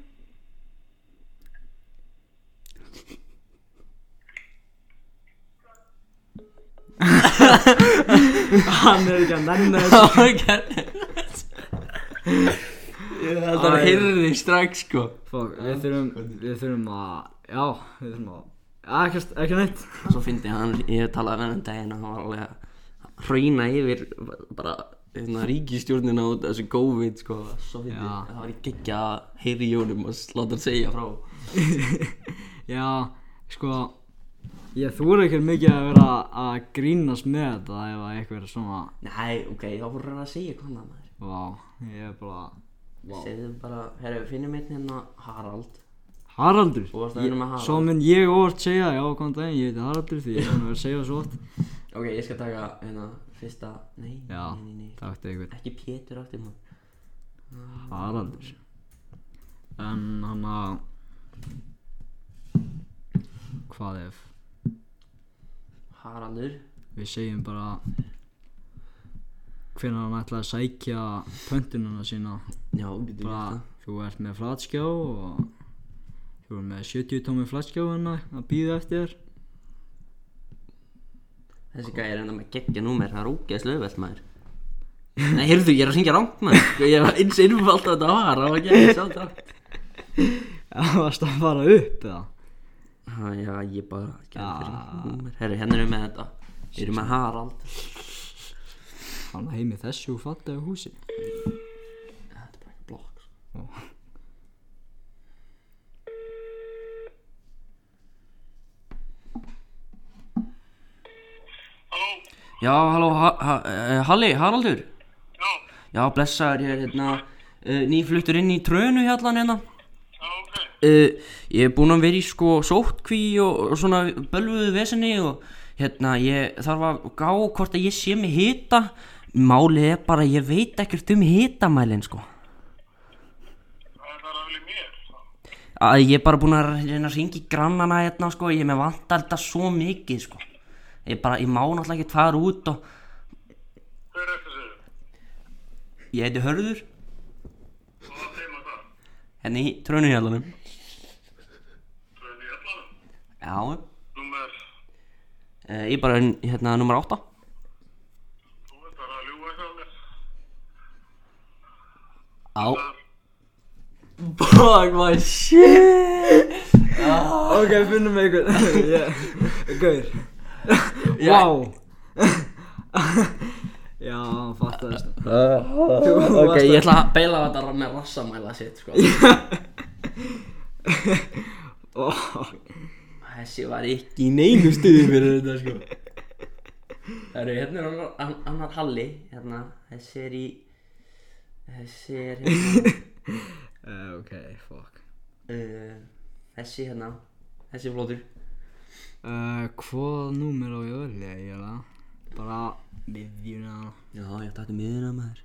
S2: Hann er ekki að nenni þessu
S1: <laughs> Það er heyrði strax, sko
S2: Fuck, við þurfum, við þurfum að, já, við þurfum að, já, ekkert, ekki neitt
S1: Svo fyndi hann, ég talaði með hann um daginn og hann var alveg að hrauna yfir bara hérna, ríkistjórnina út af þessu COVID sko, svo fyndi,
S2: Já.
S1: það var í geggja að heyri Jónum og láta hann segja frá
S2: Já, sko, ég þúr ekki mikið að vera að grínast með þetta ef að eitthvað er svona,
S1: Nei, ok, þá voru hann að segja hvað hann maður
S2: vá, ég er bara,
S1: wow. Segðu bara, herru, við finnum einn hérna Harald
S2: Haraldur
S1: Þú varst að vera með Harald.
S2: Svo mun ég óvart segja, já, kom daginn, ég heiti Haraldur því ég er búin að vera að segja það svo oft
S1: Ok, ég skal taka hérna fyrsta, nei,
S2: Já,
S1: nei, nei, nei
S2: takk til einhvern,
S1: Ekki Pétur aftur maður
S2: Haraldur En hann að, hvað ef,
S1: Haraldur
S2: við segjum bara hvenær hann ætlaði að sækja pöntununa sína
S1: Já, getur við
S2: bara
S1: þetta
S2: þú ert með flatskjá og þú ert með 70 tómi flatskjá hérna að býða eftir þér
S1: Þessi gæði er hérna með geggja númer, það er ógeðslega auðvelt maður Nei, heyrðu, ég er að syngja rangt maður Sko, Ég var eins innfald að þetta var, það var ekki ekki sátt rangt
S2: Já, <laughs> varst að fara upp eða
S1: Ha, Já, ég bara gerði
S2: Ah.
S1: fyrir rangt númer Herru, hérna erum við með þetta Við erum með Harald
S2: hann heim í þessu fallega húsi
S1: Þetta er bara ekki blokk sko.
S3: Halló,
S1: Já, halló, ha, ha, eh, Halli, Haraldur
S3: já,
S1: Já, blessaður, ég er hérna uh, nýfluttur inn í trönu hjallan hérna
S3: já, ok.
S1: uh, ég er búinn að vera í sko sótkví og, og svona bölvuðu vesenni og hérna ég þarf að gá hvort að ég sé mig hita málið er bara að ég veit ekkert um hitamælinn sko
S3: Það er það alveg mér.
S1: að ég er bara búinn að reyna að ringi grannana hérna sko, ég með vantar þetta svo mikið sko ég bara, ég má náttúrulega ekkert fara út og
S3: Hver er þessu?
S1: ég heiti Hörður
S3: Og það þeim að það.
S1: hérna í trönuhjallanum
S3: Tröðin í allanum.
S1: já, uh,
S3: Númer,
S1: ég er bara hérna nummer 8
S3: þú veist það er að ljúa eitthvað mér.
S1: já fuck my shit
S2: ok, finnum við <laughs> einhvern yeah. gaur wow já, hann fattar þessu
S1: Ok, ég ætla að beila þetta með rassamæla sitt sko.
S2: oh.
S1: Þessi var ekki í neinu stuði fyrir þetta sko. Það eru, hérna er annar, ann- annar Halli hérna, Þessi er í Þessi er hérna <laughs>
S2: uh, ok, fuck
S1: uh, Þessi hérna Þessi er flótur
S2: Uh, hvað númer á ég öll ég er það? Bara miðjuna
S1: Já, ég tætti miðina maður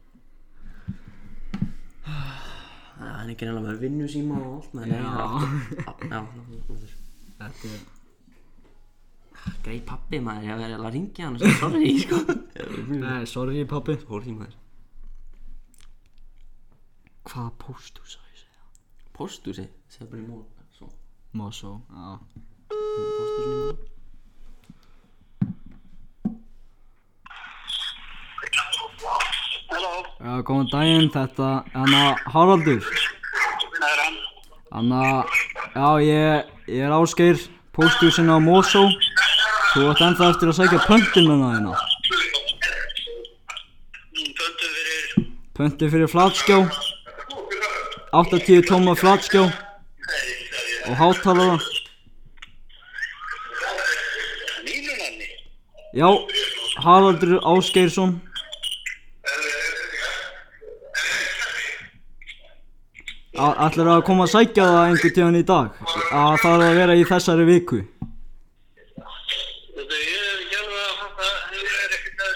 S1: Það Ah, er ekki reyna með vinnu síma og allt maður Nei, það er allt- Já, það er flótur
S2: Þetta er
S1: Grei pappi maður, ég verði að ringja hann og segja sorry sko <laughs>
S2: Nei, Eh, sorry pappi
S1: Horði maður
S2: Hvaða pósthús á ég segja?
S1: Pósthúsi, segðu bara í mót Svo,
S2: Mosó Já
S1: pósthúsin í mót
S3: Halló,
S2: Já, góðan daginn þetta Hanna Haraldur
S3: það er hann.
S2: Hanna Já, ég, ég er Ásgeir Pósthúsinn á Mosó Þú ert ennþá eftir að sækja pöntununa þína
S3: Pöntum fyrir...
S2: Pönti fyrir flatskjá 80 tóma flatskjá Og hátalara
S3: Mínunanni.
S2: Já, Haraldur Ásgeirsson Allir að koma að sækja það einhvern tíðan í dag að það er að vera í þessari viku
S3: Þetta ég gerði það þetta, ég er ekkert að,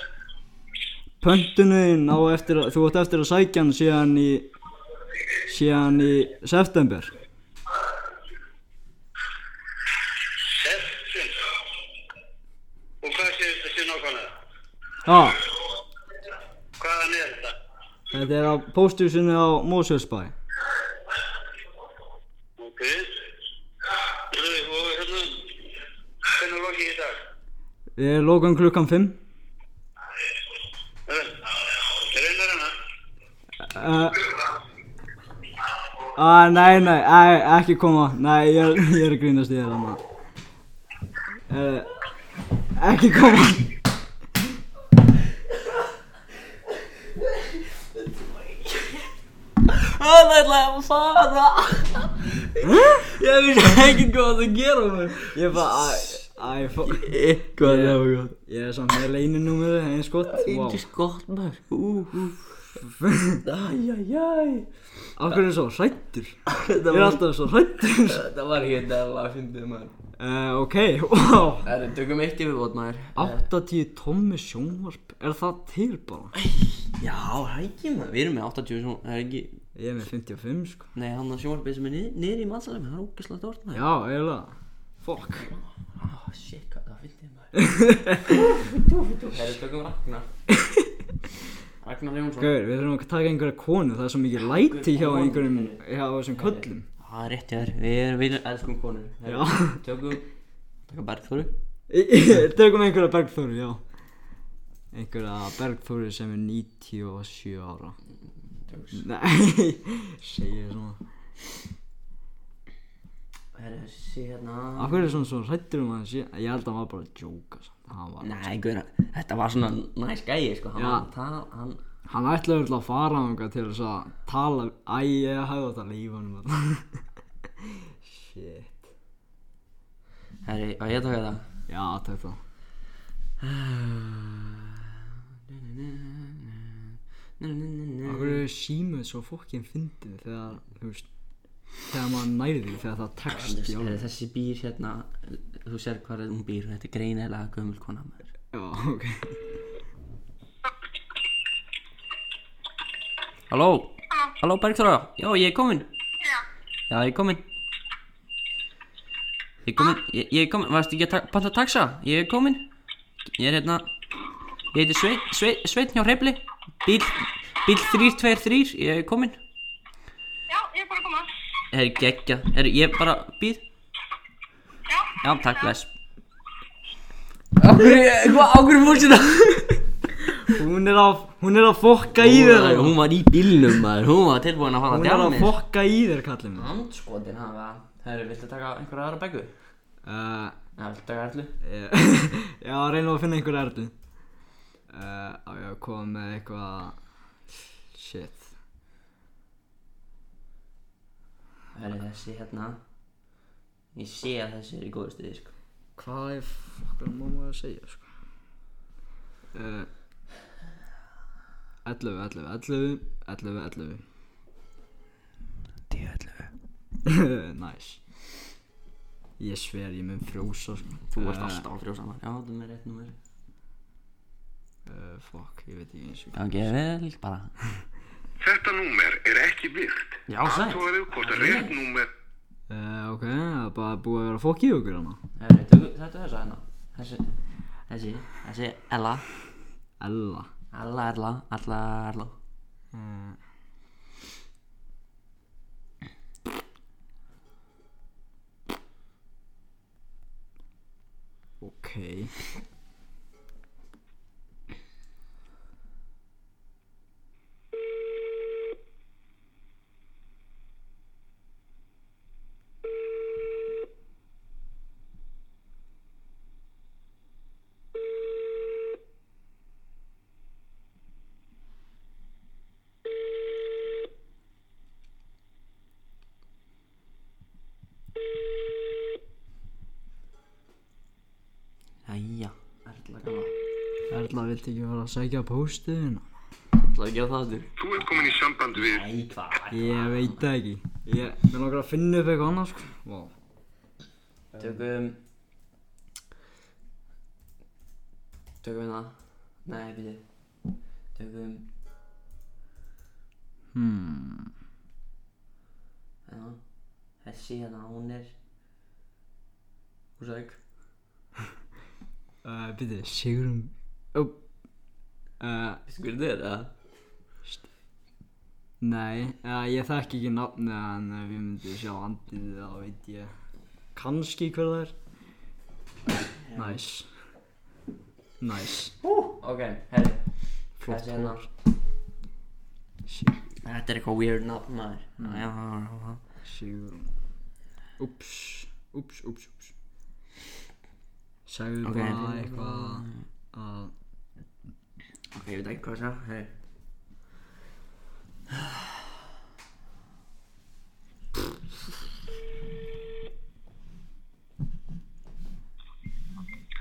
S2: Pöntunin á eftir að, þú átt eftir að sækja hann síðan í síðan í september
S3: sessin. Og hvað sé þetta sé nákvæmlega?
S2: Já,
S3: Hvaðan er þetta?
S2: þetta er á pósthúsinu á Mosfellsbæ
S3: Ok. Heyrðu, Og hérna, hvernig lokið í dag?
S2: Við lókum klukkan 5
S3: Reynar hana?
S2: uh, uh, Nei, nei, nei, ekki koma Nei, ég er, ég er að grínast í þér amma uh, Ekki koma
S1: Hann ætlaði að fara Ég vissi ekki hvað það gera mér
S2: Ég bara, æ, æ, fó
S1: Eitthvað
S2: Ég-
S1: já, já
S2: Ég er samt með leyninúmuru, eins gott Vá,
S1: Índi skott maður Úf, æjæjæj
S2: <laughs> af hverju er svo hrættur?
S1: Þetta
S2: Ég er
S1: var,
S2: alltaf svo hrættur
S1: þetta var hérna að fyndið maður
S2: uh, Ok, wow
S1: Herru, tökum eitt yfirbót maður
S2: 80 tommi sjónvarp, er það til bara?
S1: Já, hækki maður Við erum með 80 svona, það er ekki
S2: Ég er með 55 sko
S1: Nei, hann að sjónvarpið sem er niður, niður í matsalemi Það er ógæslega dórt maður
S2: Já, eiginlega Fuck
S1: Ah, shit, hvað það fyndið maður <laughs> Herru, tökum Ragnar Ragnar Jónsson
S2: Gauður, við þurfum að taka einhverja konu, það er svo mikið læti hjá einhverjum, hjá þessum köllum
S1: Það er rétt hjá þér, við erum við elskum konur Herru,
S2: Já.
S1: Tökum, tökum Bergþóru
S2: <laughs> Tökum einhverja Bergþóru, já Einhverja Bergþóru sem er 97 ára
S1: Tökum
S2: Nei, <laughs> segir svona
S1: Herru, sé hérna
S2: Af hverju er svona svo hrættur um að hann sé Ég held að hann var bara að djóka samt. Hann, var,
S1: Nei, guðra, þetta var svona næs gæi, sko, hann
S2: Já.
S1: var að tala, hann,
S2: hann ætlaði örugglega að fara þangað til þess að tala Æ, ég hefði átt að lífa hann þarna. <laughs> Shit
S1: herri, á ég að taka það?
S2: Já, takk það Af hverju er símið svo fokkin fyndið Þegar, þú veist Þegar maður næri því, þegar það tekst Já,
S1: Herri, þessi býr hérna, þú sér hvað er hún býr, þetta er greinilega gömul kona maður.
S2: já ok
S1: Halló, halló Bergþóra, já, ég er komin,
S4: Já,
S1: já, ég er komin. Ég er komin, ég, ég er komin, varstu ekki að ta- panta taxa? Ég er komin, ég er hérna, ég heiti Sveinn, Sveinn, Sveinn hjá Hreyfli, bíl, bíl 323, ég er komin.
S4: já, ég er bara að koma.
S1: Herri, geggja, herri, ég bara býð
S4: Já,
S1: Já, takk, bless Hvað, á hverju fórst þetta?
S2: Hún er að, hún er að fokka í þér
S1: Hún var í bílnum maður, hún var tilbúin að fara að
S2: Hún er
S1: djána
S2: að fokka í þér, kallið mig
S1: Andskotin hafa Herri, viltu taka einhverja aðra beggu? Já,
S2: uh,
S1: viltu taka erlu?
S2: Ég <laughs> ég var að eh, reyna að finna einhverja erðu uh, Á ég að koma með eitthvað Shit
S1: Herri, þessi hérna Ég sé að þessi er í góðu stuði, sko
S2: Hvað er fokkar mamma að segja sko uh, 11, 11, 11 11,
S1: Djöðlu
S2: 11 <laughs> Nice Ég sver ég mun frjósa sko
S1: Þú ert alltaf að frjósa maður Já, þú er rétt númer
S2: uh, Fuck, ég veit ekki eins og
S1: Já, ekki vel, bara
S5: Þetta númer er ekki virkt.
S1: Já, sæl
S5: Athugaðu hvort að rétt númer...
S2: uh, Ok, það er bara búið að vera fokk í okkur hana
S1: Herri, tökum- þetta er þessa hérna Þessi, þessi, þessi, Ella
S2: Ella
S1: Alla, alla, alla, alla
S2: uh, Ok
S1: Æja, Erla gamla
S2: Erla, viltu ekki fara að segja póstuðina?
S1: Það er að gera það aftur
S5: Þú ert komin í samband við...
S1: Æ, hvað?
S2: Ég veit það ekki Ég, mér langar að finna upp eitthvað annars sko. Vá.
S1: Tökum Tökum hérna Nei, byrju Tökum
S2: Hmm.
S1: hérna Þessi hérna, hún er Húsæk
S2: Uh, Býtið, Sigurum... Ó. Uh,
S1: Skur þér, eða?
S2: nei, uh, ég þekki ekki nafnið en ef ég myndi sjá andlið þá veit ég kannski hver það er. Næs. Næs.
S1: Ok, herri
S2: Flott
S1: Þessi hérna
S2: hår. Sig-
S1: Þetta er eitthvað weird nafn maður Já, já, já, já.
S2: Sigurum. Úps. Úps, úps, úps. Segðu
S1: Ok,
S2: bara
S1: þetta er-
S2: eitthvað að...
S1: Ok, ég veit ekki hvað það Herri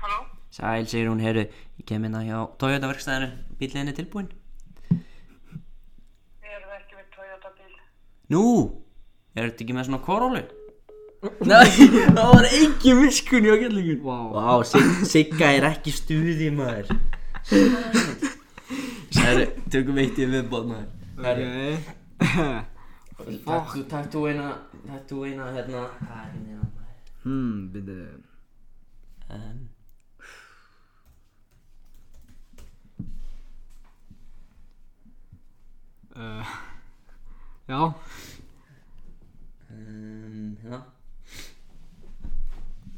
S4: Halló?
S1: Sæl, segir hún, herru Ég kem hérna hjá Toyota verkstæðinu Bíllinn er tilbúinn
S4: Við erum ekki með Toyota bíl.
S1: Nú, er þetta ekki með svona korólu? Nei, það var ekki miskun í okkarlingun
S2: Vá.
S1: Vá, Sig- Sigga er ekki í stuði maður Særi, tökum eitt í viðbóð maður Herri,
S2: Ok. <laughs>
S1: takk þú- Takk þú eina, takk þú eina hérna Það er hérna hérna, maður
S2: Hmm, býtið.
S1: Um,
S2: Uh, já,
S1: um, hérna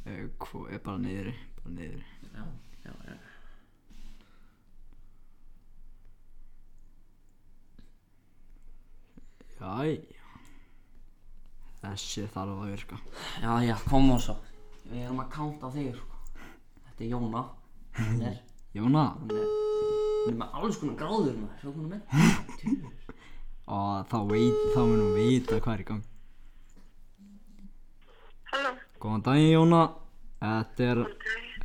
S2: uh, hvo- er bara niðri, bara niðri.
S1: Já, já, já
S2: Jæja. Þessi þarf að virka.
S1: Já, já, kom og svo Við erum að kánta þig, sko Þetta er Jóna Hún er,
S2: Jóna,
S1: hún er Hún er með alls konar gráður maður Svo hún er með <laughs> Tjúr
S2: og þá veit, þá mun hún vita hvað er í gang.
S4: Halló?
S2: Góðan daginn Jóna, þetta er,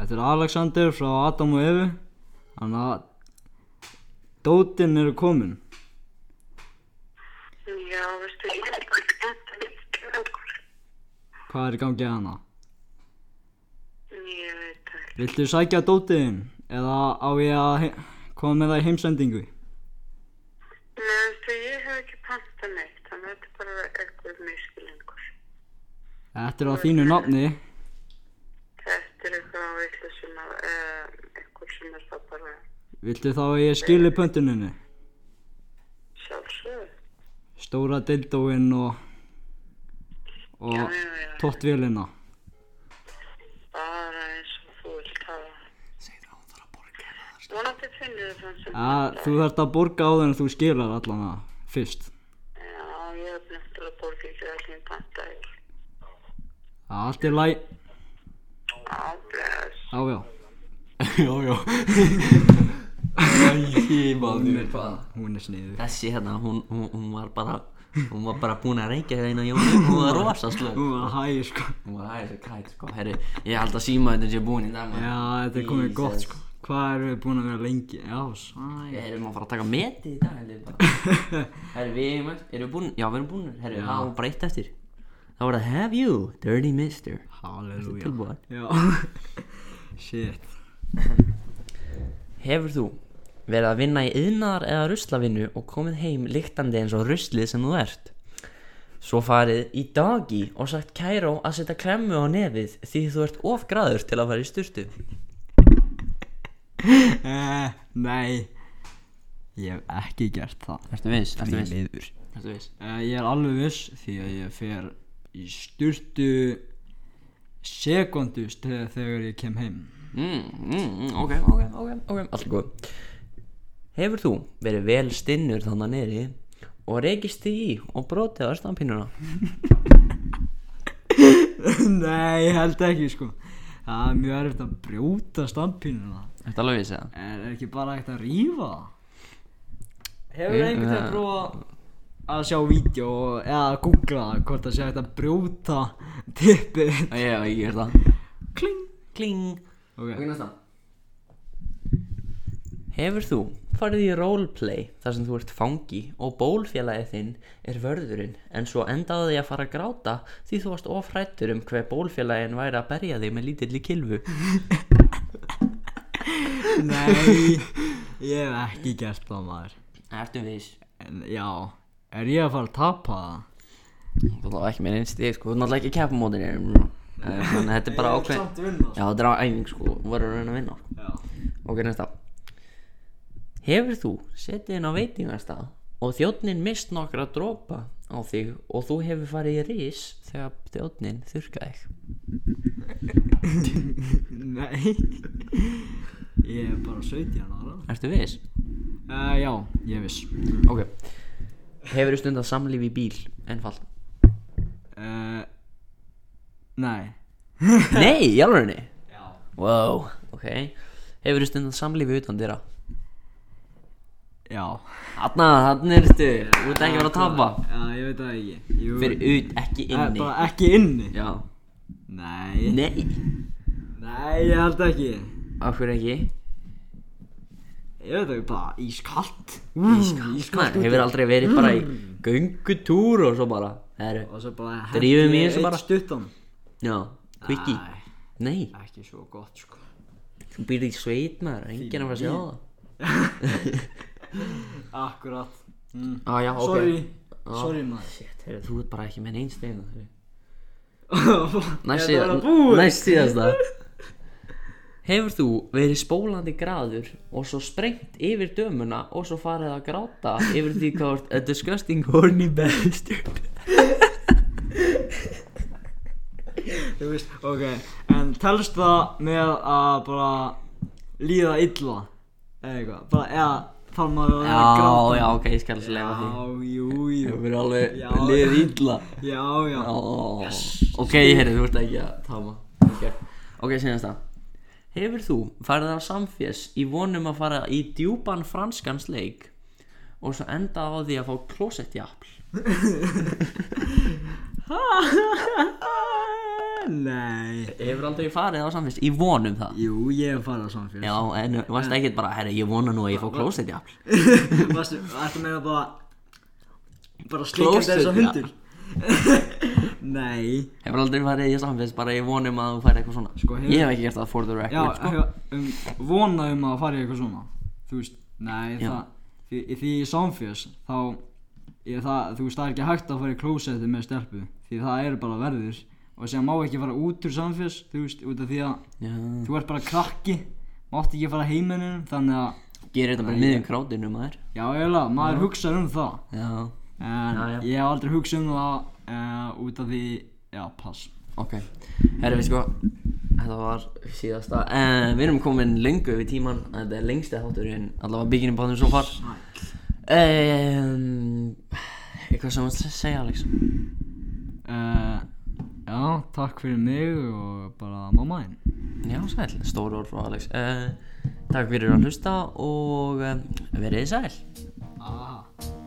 S2: þetta er Alexander frá Adam og Evu. Þannig að dótin eru komin.
S4: Já, veistu, ég er ekki með þetta lengur.
S2: Hvað er í gangi að hana?
S4: Ég veit það ekki.
S2: Viltu sækja dótin eða á ég að he- koma með það í heimsendingu?
S4: Nei, veistu, ég hef ekki pantað neitt, þannig að þetta er bara eitthvað miskilengur.
S2: Þetta er á þínu nafni.
S4: Þetta er eitthvað vitlega sem að, eh, eitthvað sem er það bara
S2: Viltu þá að ég skili pöntuninu?
S4: sjálfsögð.
S2: Stóra dildóin og
S4: Já,
S2: og
S4: já, já,
S2: tóttvélina
S4: bara eins og þú vilt hafa.
S1: Segir að hún þarf að borga hérna
S4: Vonandi finnir þú þann sem
S2: að þú þarft að borga á þenn að þú skilar allan að fyrst
S4: Já, ég hef náttúrulega borgið ekki allir pantaði.
S2: að allt er læ
S4: Já, bless.
S2: já já
S1: Já, já Æi, maður Hvað?
S2: hún er sniðu
S1: Þessi hérna, hún, hún, hún var bara Hún var bara búin að reykja hérna Jónu Hún var rosa slög
S2: hún var hæg sko
S1: Hún var aðeins að kæk, sko Herri, ég held að síma þetta sé búin í dag maður.
S2: já þetta er komið
S1: Jesus.
S2: gott sko hvað erum við búin að vera lengi já
S1: <laughs>
S2: sæ
S1: Við erum að fara að taka meti í dag held ég bara. Herri, við erum, erum við búin Já, við erum búin Herri,
S2: Já.
S1: það var bara eitt eftir Það var það Have you, dirty mister
S2: halleluja
S1: Tilbúin
S2: já <laughs> shit
S1: Hefur þú verið að vinna í yðnar eða ruslavinnu og komið heim líktandi eins og ruslið sem þú ert? Svo farið í dagi og sagt Kæró að setja kremmu á nefið því þú ert ofgraður til að fara í sturtu.
S2: eh, nei ég hef ekki gert það
S1: Ertu viss? Ertu viss?
S2: miður
S1: Ertu viss?
S2: Uh, ég er alveg viss því að ég fer í styrtu sekundust þegar ég kem heim.
S1: Mm, mm, mm, ok, ok, ok, ok, allt er góð. Hefur þú verið vel stinnur þannig neri og reykist þig í og brotið á stampínuna?
S2: <laughs> Nei, ég held ekki sko. Það er mjög erfitt að brjóta stampínuna.
S1: Ertu alveg viss eða?
S2: Er er ekki bara ekkert að rífa það? Hefur
S1: Ég-
S2: einhvern veginn
S1: eh.
S2: prófað að sjá vídeo og- eða að googla hvort það sé hægt að brjóta tippið?
S1: Já, ég er það.
S2: Kling!
S1: Kling.
S2: Ok,
S1: næsta Hefur þú farið í roleplay þar sem þú ert fangi og bólfélagið þinn er vörðurinn en svo endaði því að fara að gráta því þú varst ofrættur um hver bólfélagin væri að berja þig með lítilli kilfu
S2: <laughs> Nei, ég hef ekki gert það maður
S1: Ertu viss?
S2: en, Já, er ég að fara að tapa það?
S1: Þú er ekki með einn stíð sko, þú er náttúrulega ekki að keppa mótin ég Þannig að þetta er bara ákveð
S2: samt vinna
S1: Já þetta er á æfing sko, þú verður að reyna að vinna sko.
S2: Já.
S1: Ok, næsta Hefur þú setið inn á veitingarstað og þjónninn mist nokkra dropa á þig og þú hefur farið í rís þegar þjónninn þurrkaði þig
S2: <laughs> Nei Ég er bara 17 ára
S1: Ertu viss?
S2: uh, Já, ég er viss
S1: Ok Hefur þú stundað samlíf í bíl? Ennfald
S2: uh, Nei
S1: Nei, í alvegni?
S2: Já
S1: Wow Ok Hefur þú stundað samlífi utan dýra?
S2: Já
S1: Hanna, hann ertu Þú ert ekki verið að tapa
S2: Já, ég veit það ekki Jú.
S1: Fyrir ut, ekki
S2: Eh,
S1: inni
S2: Bara ekki inni
S1: Já
S2: Nei
S1: Nei
S2: Nei, ég held ekki
S1: Af hverju ekki?
S2: Ég veit ekki, bara ískalt
S1: Ískalt Hefur aldrei
S2: Mm.
S1: verið bara í göngutúr og svo bara Herru
S2: Og svo bara
S1: Drífum í
S2: hendi
S1: þessu
S2: einn
S1: bara.
S2: stuttan
S1: Já Quickie
S2: Æ,
S1: Nei
S2: Ekki svo gott
S1: <laughs>
S2: sko
S1: Þú býrði í sveit maður Enginn að fara að sjá það
S2: Akkurat
S1: ah, já, ok Ah.
S2: Sorry
S1: Já.
S2: Sorry maður <laughs>
S1: Shit, heyrðu, þú ert bara ekki með neins steina Heyrðu
S2: Næst
S1: Næst síða- næst síðasta Hefur þú verið spólandi graður og svo sprengt yfir dömuna og svo farið að gráta yfir því hvað vart a disgusting horny bastard
S2: Þú veist, ok, en telst það með að bara líða illa eða eitthvað, bara, eða þarf maður að vera að
S1: Já,
S2: gráta
S1: já, ok, ég skal slega því
S2: Já, jú, jú,
S1: Hefur verið alveg
S2: Já.
S1: liðið illa
S2: já, já
S1: Já, Ok, heyrðu, þú ert ekki að tama Ok, okay síðan það Hefur þú farið á samfés í vonum að fara í djúpan franskans leik og svo enda á því að fá klósettjafl
S2: Nei,
S1: Hefur aldrei farið á samfélst í vonum það
S2: jú, ég er farið á samfélags
S1: Já, en varst ekkert bara, herri, ég vona nú að ég fá klósettjafl
S2: <laughs> Varstu, ertu meina bara, bara slikjandi
S1: Closet,
S2: þess
S1: já.
S2: að hundur <laughs> Nei,
S1: Hefur aldrei farið í samfélst bara í vonum að þú færi eitthvað svona
S2: Sko, hefur-
S1: Ég hef ekki gert það for the
S2: já,
S1: record, sko
S2: hefur- um, vona um að fara í eitthvað svona Þú veist, nei,
S1: Já.
S2: það, því, því í samfélags, þá, ég, það, þú veist, það er ekki hægt að fara í klósetti með stelpu Því það eru bara verður Og sem má ekki fara út úr samfélags, þú veist, út af því að
S1: Já,
S2: þú ert bara krakki Mátt ekki fara heiminum, þannig að,
S1: gerir þetta bara miðum krátinu maður
S2: já, eiginlega, maður hugsar um það
S1: Já,
S2: En
S1: Já, já.
S2: ég hef aldrei hugsað um það uh, út af því, já, pass
S1: ok Herri, við sko, þetta var síðasta uh, Við erum komin lengu yfir tíman Þetta er lengsti þátturinn Allavega bygginum báðum svo far um, Eitthvað sem að segja, Alex
S2: uh, Já, takk fyrir mig og bara mamma þín
S1: Já, sæl, stór orð frá Alex Eh, uh, Takk fyrir að hlusta og um, verið þið sæl
S2: Aha